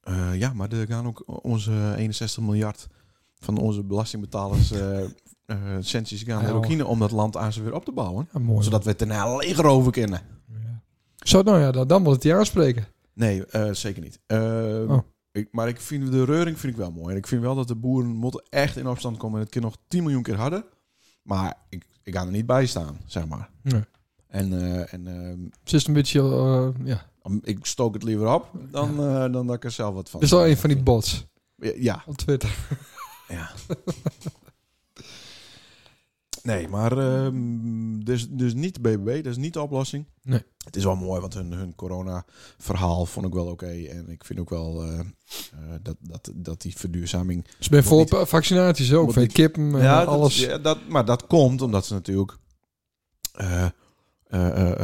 [SPEAKER 2] Eh, ja, maar er gaan ook onze 61 miljard van onze belastingbetalers eh eh, centjes gaan naar
[SPEAKER 3] Ja,
[SPEAKER 2] Oekraïne om dat land aan ze weer op te bouwen.
[SPEAKER 3] Ja, mooi.
[SPEAKER 2] Zodat we het daarna leger over kunnen.
[SPEAKER 3] Ja. Zou, nou ja, dan, dan wil het die aanspreken.
[SPEAKER 2] Nee, eh, zeker niet. Eh,
[SPEAKER 3] Oh.
[SPEAKER 2] ik, maar ik vind de reuring vind ik wel mooi. En ik vind wel dat de boeren moeten echt in opstand komen. En het kan nog 10 miljoen keer harder. Maar ik, ik ga er niet bij staan, zeg maar.
[SPEAKER 3] Nee.
[SPEAKER 2] En, eh, en eh,
[SPEAKER 3] Het is een beetje... eh, ja.
[SPEAKER 2] ik stook het liever op dan, eh, dan dat ik er zelf wat van.
[SPEAKER 3] Het is wel een van die bots
[SPEAKER 2] Ja, ja.
[SPEAKER 3] op Twitter.
[SPEAKER 2] Ja. nee, maar ehm, dus, dus niet BBB, dat is niet de oplossing.
[SPEAKER 3] Nee.
[SPEAKER 2] Het is wel mooi, want hun, hun corona-verhaal vond ik wel oké. En ik vind ook wel eh, eh, dat, dat, dat die verduurzaming...
[SPEAKER 3] Ze ben vol
[SPEAKER 2] niet-
[SPEAKER 3] op vaccinaties ook.
[SPEAKER 2] moet
[SPEAKER 3] Van
[SPEAKER 2] niet-
[SPEAKER 3] kippen en
[SPEAKER 2] Ja,
[SPEAKER 3] alles.
[SPEAKER 2] Dat, ja, dat, maar dat komt omdat ze natuurlijk eh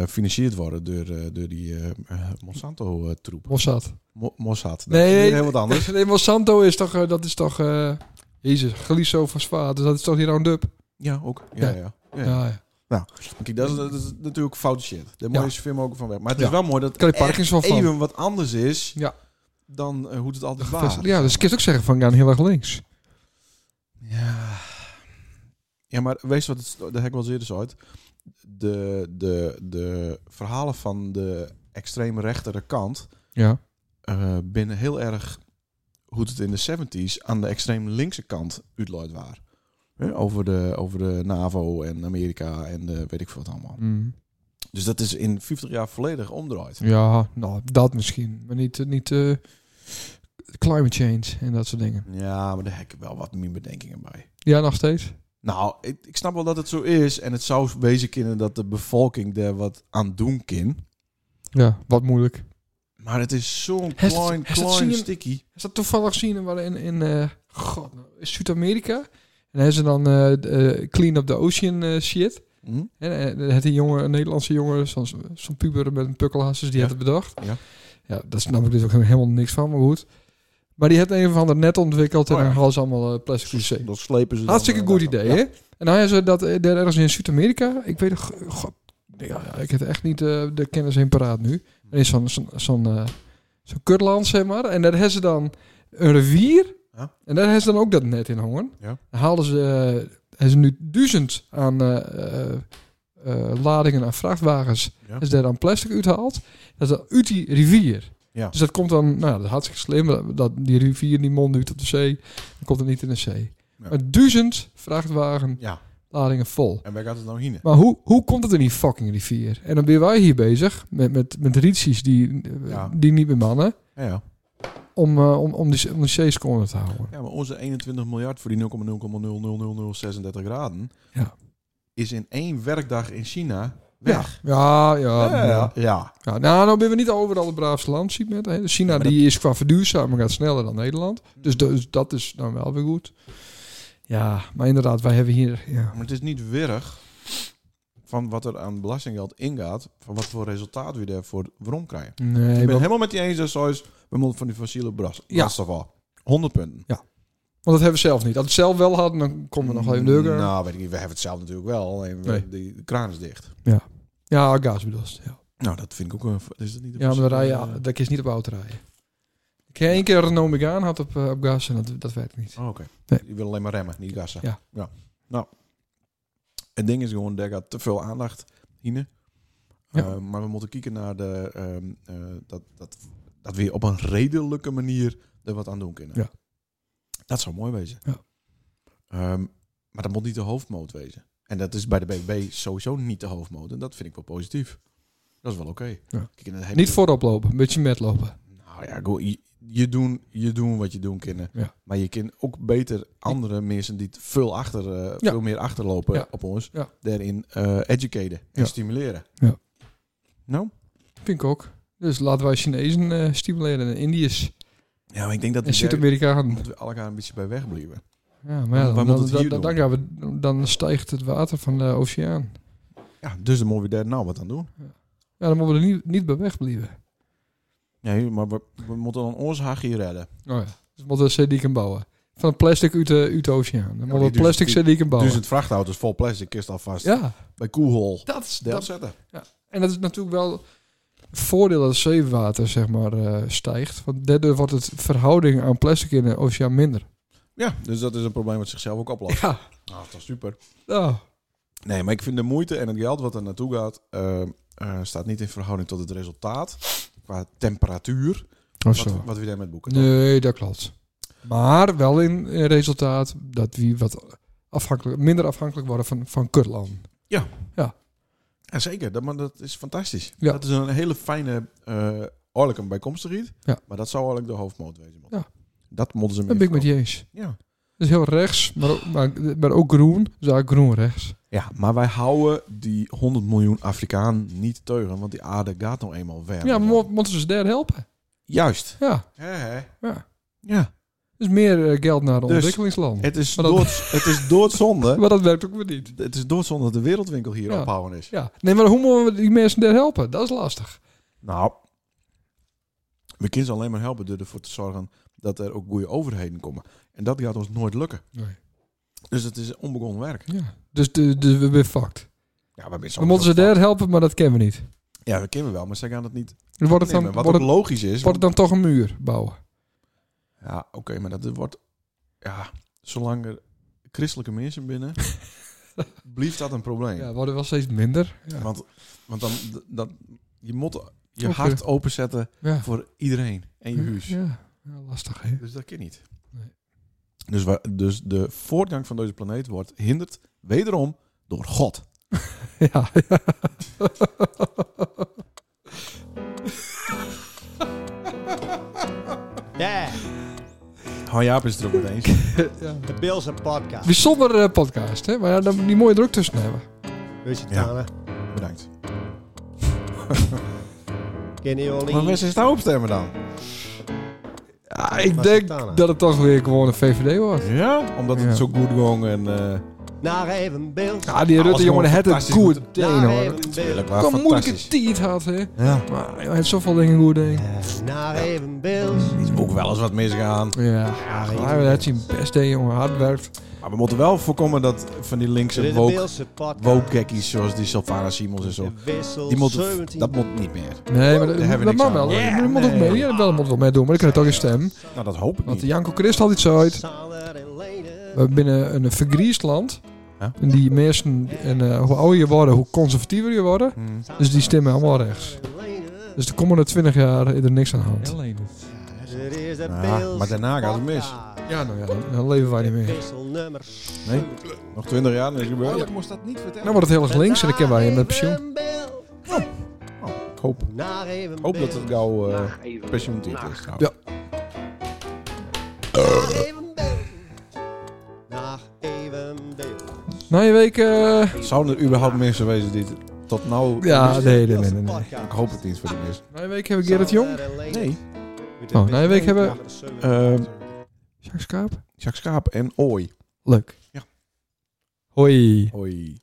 [SPEAKER 2] financierd worden door, eh, door die Monsanto-troep.
[SPEAKER 3] Mossad.
[SPEAKER 2] Mossad. Dat
[SPEAKER 3] Nee,
[SPEAKER 2] is
[SPEAKER 3] nee,
[SPEAKER 2] heel wat anders.
[SPEAKER 3] Nee, Monsanto is toch... eh, dat is toch... eh jezus, glyfosfaat. Dus dat is toch die Roundup?
[SPEAKER 2] Ja, ook. ja.
[SPEAKER 3] Ja.
[SPEAKER 2] ja.
[SPEAKER 3] Ja,
[SPEAKER 2] ja, ja.
[SPEAKER 3] ja.
[SPEAKER 2] Kijk, dat is, dat is natuurlijk foute shit. Daar moet
[SPEAKER 3] Ja.
[SPEAKER 2] je zoveel mogelijk van weg. Maar het
[SPEAKER 3] Ja.
[SPEAKER 2] is wel mooi dat
[SPEAKER 3] Kan je
[SPEAKER 2] het echt
[SPEAKER 3] Parkinson van.
[SPEAKER 2] even wat anders is
[SPEAKER 3] Ja.
[SPEAKER 2] dan eh, hoe het altijd was.
[SPEAKER 3] Ja, dus ik kan ook zeggen van gaan heel erg links.
[SPEAKER 2] Ja. ja, maar wees wat het, dat heb ik wel eens eerder uit. De, de, de verhalen van de extreem rechtere kant
[SPEAKER 3] Ja.
[SPEAKER 2] eh, binnen heel erg hoe het in de 70s aan de extreem linkse kant uitloopt waren. Hè, Over de, over de NAVO en Amerika en de, weet ik veel wat allemaal.
[SPEAKER 3] Mm.
[SPEAKER 2] Dus dat is in 50 jaar volledig omdraaid.
[SPEAKER 3] Ja, nou, dat misschien. Maar niet, niet eh, climate change en dat soort dingen.
[SPEAKER 2] Ja, maar daar heb ik wel wat meer bedenkingen bij.
[SPEAKER 3] Ja, nog steeds.
[SPEAKER 2] Nou, ik, ik snap wel dat het zo is. En het zou wezen kunnen dat de bevolking daar wat aan doen kan.
[SPEAKER 3] Ja, wat moeilijk.
[SPEAKER 2] Maar het is zo'n
[SPEAKER 3] Heeft-
[SPEAKER 2] klein,
[SPEAKER 3] heeft dat
[SPEAKER 2] klein
[SPEAKER 3] zien-
[SPEAKER 2] sticky.
[SPEAKER 3] Is dat toevallig zien waar in, in eh, god, nou, Zuid-Amerika? En hebben ze dan eh, de, eh, Clean Up the Ocean eh, shit.
[SPEAKER 2] Hm?
[SPEAKER 3] En eh, het die jongen, een Nederlandse jongen, zo'n zo'n puber met een pukkelhasses, die
[SPEAKER 2] Ja.
[SPEAKER 3] had het bedacht.
[SPEAKER 2] Ja.
[SPEAKER 3] ja, daar snap ik dus ook helemaal niks van, maar goed. Maar die had een of ander net ontwikkeld en
[SPEAKER 2] Oh ja.
[SPEAKER 3] dan hadden ze allemaal eh, plastic wc.
[SPEAKER 2] Dat slepen ze dan,
[SPEAKER 3] Hartstikke
[SPEAKER 2] eh,
[SPEAKER 3] goed
[SPEAKER 2] daar-
[SPEAKER 3] idee,
[SPEAKER 2] Ja.
[SPEAKER 3] hè? En nou ja, ze dat eh, daar ergens in Zuid-Amerika. Ik weet nog, eh, god, ja, ja, ik heb echt niet eh, de kennis in paraat nu. Er is zo'n zo'n zo'n eh, zo'n kutland, zeg maar. En daar hebben ze dan een rivier.
[SPEAKER 2] Ja.
[SPEAKER 3] En daar hebben ze dan ook dat net in hongen.
[SPEAKER 2] Ja.
[SPEAKER 3] Dan halen ze, eh, hebben ze nu duizend aan eh, eh, eh, ladingen aan vrachtwagens.
[SPEAKER 2] Ja.
[SPEAKER 3] Is daar dan plastic uithaalt. Dat is dan uit die rivier.
[SPEAKER 2] Ja.
[SPEAKER 3] Dus dat komt dan, nou, dat is hartstikke slim. Dat, dat- die rivier die mond uit op de zee. Dan komt het niet in de zee. Een duizend vrachtwagen
[SPEAKER 2] Ja.
[SPEAKER 3] ladingen vol.
[SPEAKER 2] En waar gaat het nou heen?
[SPEAKER 3] Maar hoe, hoe komt het in die fucking rivier? En dan ben wij hier bezig met, met, met rietjes die, eh,
[SPEAKER 2] Ja.
[SPEAKER 3] die niet bemannen.
[SPEAKER 2] Ja, ja.
[SPEAKER 3] Om, eh, om, om, die, om de zees konden te houden.
[SPEAKER 2] ja, maar onze 21 miljard voor die 0,0000036 graden...
[SPEAKER 3] Ja.
[SPEAKER 2] is in één werkdag in China
[SPEAKER 3] Ja,
[SPEAKER 2] weg.
[SPEAKER 3] ja, ja.
[SPEAKER 2] ja, ja.
[SPEAKER 3] ja.
[SPEAKER 2] ja.
[SPEAKER 3] Ja, nou, nou ben we niet overal het braafste land, ziet met. hè. Dus China
[SPEAKER 2] Maar dat- Mm.
[SPEAKER 3] die is qua verduurzaming gaat sneller dan Nederland. Dus, dus dat is dan wel weer goed. Ja, maar inderdaad, wij hebben hier... Ja,
[SPEAKER 2] Maar het is niet wirrig van wat er aan belastinggeld ingaat, van wat voor resultaat we daarvoor rond krijgen.
[SPEAKER 3] nee,
[SPEAKER 2] ik ben
[SPEAKER 3] want-
[SPEAKER 2] helemaal met die eens dat zoals we moeten van die fossiele bras.
[SPEAKER 3] Ja.
[SPEAKER 2] brandstof af. 100 punten.
[SPEAKER 3] want dat hebben we zelf niet. Als we het zelf wel hadden, dan komen we nog even leuker.
[SPEAKER 2] Nou, weet ik niet. We hebben het zelf natuurlijk wel. Alleen we-
[SPEAKER 3] Nee.
[SPEAKER 2] de kraan is dicht.
[SPEAKER 3] Ja, gas bedoeld, ja.
[SPEAKER 2] Nou, dat vind ik ook een... Is dat niet een
[SPEAKER 3] Ja, maar dan rij
[SPEAKER 2] fossiele-
[SPEAKER 3] je, dat is niet op auto rijden. Ik heb één keer een Renault Megane had op, eh, op gas en dat, dat werkt niet.
[SPEAKER 2] Oh, oké.
[SPEAKER 3] Nee.
[SPEAKER 2] Je wil alleen maar remmen, niet gassen.
[SPEAKER 3] Ja.
[SPEAKER 2] Nou, het ding is gewoon, daar gaat te veel aandacht in.
[SPEAKER 3] Ja.
[SPEAKER 2] Eh, maar we moeten kijken naar de, ehm, eh, dat, dat, dat we op een redelijke manier er wat aan doen kunnen.
[SPEAKER 3] Ja.
[SPEAKER 2] Dat zou mooi wezen.
[SPEAKER 3] Ja.
[SPEAKER 2] Ehm, maar dat moet niet de hoofdmoot wezen. En dat is bij de BB sowieso niet de hoofdmoot. En dat vind ik wel positief. Dat is wel oké.
[SPEAKER 3] Ja.
[SPEAKER 2] Kijk, en dat heeft-
[SPEAKER 3] Niet voorop lopen, een beetje metlopen.
[SPEAKER 2] Nou, Nou ja, go- je, je, doen, je doen wat je doen kunnen.
[SPEAKER 3] Ja.
[SPEAKER 2] Maar je kan ook beter andere mensen die het veel, achter, eh,
[SPEAKER 3] Ja.
[SPEAKER 2] veel meer achterlopen
[SPEAKER 3] Ja.
[SPEAKER 2] op ons,
[SPEAKER 3] Ja.
[SPEAKER 2] daarin eh educaten en
[SPEAKER 3] Ja.
[SPEAKER 2] stimuleren.
[SPEAKER 3] Ja.
[SPEAKER 2] Nou?
[SPEAKER 3] Vind ik ook. Dus laten wij Chinezen eh, stimuleren en Indiërs
[SPEAKER 2] Ja, maar ik denk dat
[SPEAKER 3] en
[SPEAKER 2] we, daar-
[SPEAKER 3] Zuid-Amerikanen.
[SPEAKER 2] dat we elkaar een beetje bij wegblijven.
[SPEAKER 3] Ja, maar ja,
[SPEAKER 2] Waar
[SPEAKER 3] dan,
[SPEAKER 2] moet het
[SPEAKER 3] dan-
[SPEAKER 2] hier
[SPEAKER 3] dan-
[SPEAKER 2] doen?
[SPEAKER 3] dan gaan we, dan stijgt het water van de oceaan.
[SPEAKER 2] Ja, dus dan moeten we daar nou wat aan doen.
[SPEAKER 3] Ja, dan moeten we er niet, niet bij wegblijven.
[SPEAKER 2] Nee, maar we, we moeten dan ons hachje redden.
[SPEAKER 3] Oh ja. Dus we moeten CD bouwen. Van plastic uit de, uit de oceaan. Dan moeten we
[SPEAKER 2] die
[SPEAKER 3] plastic
[SPEAKER 2] duizend-
[SPEAKER 3] CD bouwen.
[SPEAKER 2] Dus het vrachtauto's vol plastic kist alvast
[SPEAKER 3] ja,
[SPEAKER 2] bij Koehol.
[SPEAKER 3] dat is,
[SPEAKER 2] Deel
[SPEAKER 3] dat,
[SPEAKER 2] zetten.
[SPEAKER 3] En dat is natuurlijk wel een voordeel dat het zeewater zeg maar, eh, stijgt. Want daardoor wordt het verhouding aan plastic in de oceaan minder.
[SPEAKER 2] Ja, dus dat is een probleem wat zichzelf ook oplost.
[SPEAKER 3] [laughs] Ja.
[SPEAKER 2] Ah, dat is toch super.
[SPEAKER 3] Nou,
[SPEAKER 2] Nee, maar ik vind de moeite en het geld wat er naartoe gaat, eh, eh, staat niet in verhouding tot het resultaat. Qua temperatuur, wat,
[SPEAKER 3] of zo.
[SPEAKER 2] wat we daarmee boeken.
[SPEAKER 3] Nee, dat klopt. Maar wel in, in resultaat dat we wat afhankelijk, minder afhankelijk worden van, van kutland.
[SPEAKER 2] Ja, zeker, dat, maar dat is fantastisch.
[SPEAKER 3] Ja.
[SPEAKER 2] Dat is een hele fijne, eh oorlijk een bijkomstigheid.
[SPEAKER 3] Ja.
[SPEAKER 2] Maar dat zou eigenlijk de hoofdmoot wezen. man.
[SPEAKER 3] Ja.
[SPEAKER 2] Dat moeten ze
[SPEAKER 3] Dat ben ik met je eens.
[SPEAKER 2] Ja.
[SPEAKER 3] Dat is heel rechts, maar ook, maar, maar ook groen. Dus eigenlijk groen rechts.
[SPEAKER 2] ja, maar wij houden die 100 miljoen Afrikaan niet teugen, want die aarde gaat nou eenmaal weg.
[SPEAKER 3] Ja, maar mo- moeten ze ze daar helpen?
[SPEAKER 2] Juist.
[SPEAKER 3] Ja,
[SPEAKER 2] Hè, hè.
[SPEAKER 3] ja.
[SPEAKER 2] Ja.
[SPEAKER 3] Dus meer eh, geld naar de
[SPEAKER 2] Dus-
[SPEAKER 3] ontwikkelingsland.
[SPEAKER 2] Het is,
[SPEAKER 3] Maar dat-
[SPEAKER 2] doods, het is doodzonde.
[SPEAKER 3] [laughs] Maar dat werkt ook weer niet.
[SPEAKER 2] Het is doodzonde dat de wereldwinkel hier
[SPEAKER 3] Ja.
[SPEAKER 2] ophouden is.
[SPEAKER 3] Ja, nee, maar hoe moeten we die mensen daar helpen? Dat is lastig.
[SPEAKER 2] Nou, we kunnen ze alleen maar helpen door ervoor te zorgen dat er ook goede overheden komen. En dat gaat ons nooit lukken.
[SPEAKER 3] Nee.
[SPEAKER 2] Dus het is onbegonnen werk.
[SPEAKER 3] Ja. Dus, de- dus we zijn fucked.
[SPEAKER 2] Ja, we,
[SPEAKER 3] We moeten ze daar helpen, maar dat kennen we niet.
[SPEAKER 2] Ja, we kennen wel, maar ze gaan het niet
[SPEAKER 3] Dan wordt het
[SPEAKER 2] nemen.
[SPEAKER 3] dan,
[SPEAKER 2] Wat
[SPEAKER 3] wordt
[SPEAKER 2] ook
[SPEAKER 3] het,
[SPEAKER 2] logisch is.
[SPEAKER 3] wordt het dan toch een muur bouwen?
[SPEAKER 2] want- Ja, oké, maar dat wordt... Ja, zolang er christelijke mensen
[SPEAKER 3] [laughs]
[SPEAKER 2] binnen... blijft dat een probleem.
[SPEAKER 3] Ja, worden wel steeds minder. Ja.
[SPEAKER 2] Want, want dan, dan... Je moet je
[SPEAKER 3] Oké.
[SPEAKER 2] hart openzetten
[SPEAKER 3] Ja.
[SPEAKER 2] voor iedereen. En je huis.
[SPEAKER 3] Ja. Ja,
[SPEAKER 2] [laughs]
[SPEAKER 3] lastig, hè?
[SPEAKER 2] Dus dat kan niet.
[SPEAKER 3] Nee.
[SPEAKER 2] Dus, wa- dus de voortgang van deze planeet wordt hinderd wederom door God.
[SPEAKER 3] Ja.
[SPEAKER 1] Yeah,
[SPEAKER 2] Oh Jaap is het er ook mee eens.
[SPEAKER 3] ja.
[SPEAKER 1] de Bills een podcast.
[SPEAKER 3] Bijzonder eh, podcast, hè? Maar ja, dan moet je die mooie druk tussen hebben.
[SPEAKER 1] Weet je het,
[SPEAKER 2] Ja.
[SPEAKER 1] Tana?
[SPEAKER 2] Bedankt.
[SPEAKER 1] Kenny Ollie.
[SPEAKER 2] Maar mensen is daar opstemmen dan?
[SPEAKER 3] Ja, ik
[SPEAKER 1] Was het
[SPEAKER 3] denk
[SPEAKER 1] dan, hè?
[SPEAKER 3] dat het toch weer gewoon een VVD wordt.
[SPEAKER 2] Ja? Omdat het
[SPEAKER 3] Ja.
[SPEAKER 2] zo goed ging en... eh
[SPEAKER 1] Naar even Bills.
[SPEAKER 3] Ja, die Rutte, jongen, het het
[SPEAKER 2] fantastisch
[SPEAKER 3] goed
[SPEAKER 2] moeten-
[SPEAKER 3] deen,
[SPEAKER 1] Naar
[SPEAKER 3] hoor.
[SPEAKER 1] even
[SPEAKER 2] dat
[SPEAKER 1] Bills.
[SPEAKER 2] was
[SPEAKER 3] Kom moeilijke
[SPEAKER 2] fantastisch.
[SPEAKER 3] tiet had, hè?
[SPEAKER 2] Ja.
[SPEAKER 3] Maar hij heeft zoveel dingen goed deen.
[SPEAKER 1] Eh, Naar even Bills.
[SPEAKER 2] Er is ook wel eens wat misgegaan.
[SPEAKER 3] Ja, maar hij had zijn best deed, jongen. Hard werkt.
[SPEAKER 2] Maar we moeten wel voorkomen dat van die
[SPEAKER 1] Dit
[SPEAKER 2] linkse
[SPEAKER 1] is de
[SPEAKER 2] woke,
[SPEAKER 1] Bills podcast.
[SPEAKER 2] wokekkies zoals die Sylvana Simons en zo...
[SPEAKER 1] De wissel
[SPEAKER 2] Die moet,
[SPEAKER 1] 17.
[SPEAKER 2] dat moet niet meer.
[SPEAKER 3] Nee, maar dat,
[SPEAKER 2] daar hebben we
[SPEAKER 3] dat
[SPEAKER 2] niks
[SPEAKER 3] mag
[SPEAKER 2] aan.
[SPEAKER 3] wel.
[SPEAKER 2] Ja,
[SPEAKER 3] dat moet ook
[SPEAKER 2] nee.
[SPEAKER 3] mee. Ja, dat moet wel mee doen, maar ik krijg toch geen stem.
[SPEAKER 2] Nou, dat hoop ik
[SPEAKER 3] Want
[SPEAKER 2] niet.
[SPEAKER 3] de Janko Christ had iets uit.
[SPEAKER 1] Sander en Lene.
[SPEAKER 3] We binnen een vergriesd land.
[SPEAKER 2] Ja.
[SPEAKER 3] En die mensen, en, eh, hoe ouder je wordt, hoe conservatiever je wordt.
[SPEAKER 2] Hm.
[SPEAKER 3] Dus die stemmen allemaal rechts.
[SPEAKER 1] Sander en Lene.
[SPEAKER 3] Dus de komende 20 jaar is er niks aan de hand.
[SPEAKER 1] Dit is de
[SPEAKER 2] Ja,
[SPEAKER 1] Bills
[SPEAKER 2] maar daarna gaat het mis.
[SPEAKER 1] podcast.
[SPEAKER 3] Ja, nou ja, dan, dan leven wij niet meer.
[SPEAKER 1] Wissel nummer
[SPEAKER 2] Nee?
[SPEAKER 1] 17.
[SPEAKER 2] Nog twintig jaar en is het gebeurd.
[SPEAKER 3] Eigenlijk
[SPEAKER 2] moest dat niet vertellen.
[SPEAKER 3] Nou wordt het heel erg links en dan kunnen wij in met pensioen.
[SPEAKER 1] Naar even
[SPEAKER 2] ik hoop,
[SPEAKER 1] Bills. Naar even
[SPEAKER 2] hoop dat het gauw eh
[SPEAKER 4] Nacht even.
[SPEAKER 2] pensioentijd is.
[SPEAKER 4] Nacht.
[SPEAKER 2] trouwens.
[SPEAKER 3] Ja.
[SPEAKER 1] Naar even Bills. Naar even Bills.
[SPEAKER 3] Na je week... eh,
[SPEAKER 2] Zouden er überhaupt mensen wezen die het tot nou...
[SPEAKER 3] ja,
[SPEAKER 1] Dit is de
[SPEAKER 3] nee, nee, nee.
[SPEAKER 1] Bills
[SPEAKER 3] nee, nee.
[SPEAKER 1] podcast.
[SPEAKER 2] Ik hoop het niet voor de mensen.
[SPEAKER 3] Na je week hebben we Gerrit Jong.
[SPEAKER 1] Sander en Lene.
[SPEAKER 2] Nee.
[SPEAKER 1] Met de
[SPEAKER 3] Oh, na je week hebben- eh,
[SPEAKER 1] nummer 17.
[SPEAKER 2] Ehm,
[SPEAKER 3] Jacques Kaap.
[SPEAKER 2] Jacques Schaap en Ooi.
[SPEAKER 3] Leuk.
[SPEAKER 2] Ja.
[SPEAKER 3] Hoi.
[SPEAKER 2] Ooi.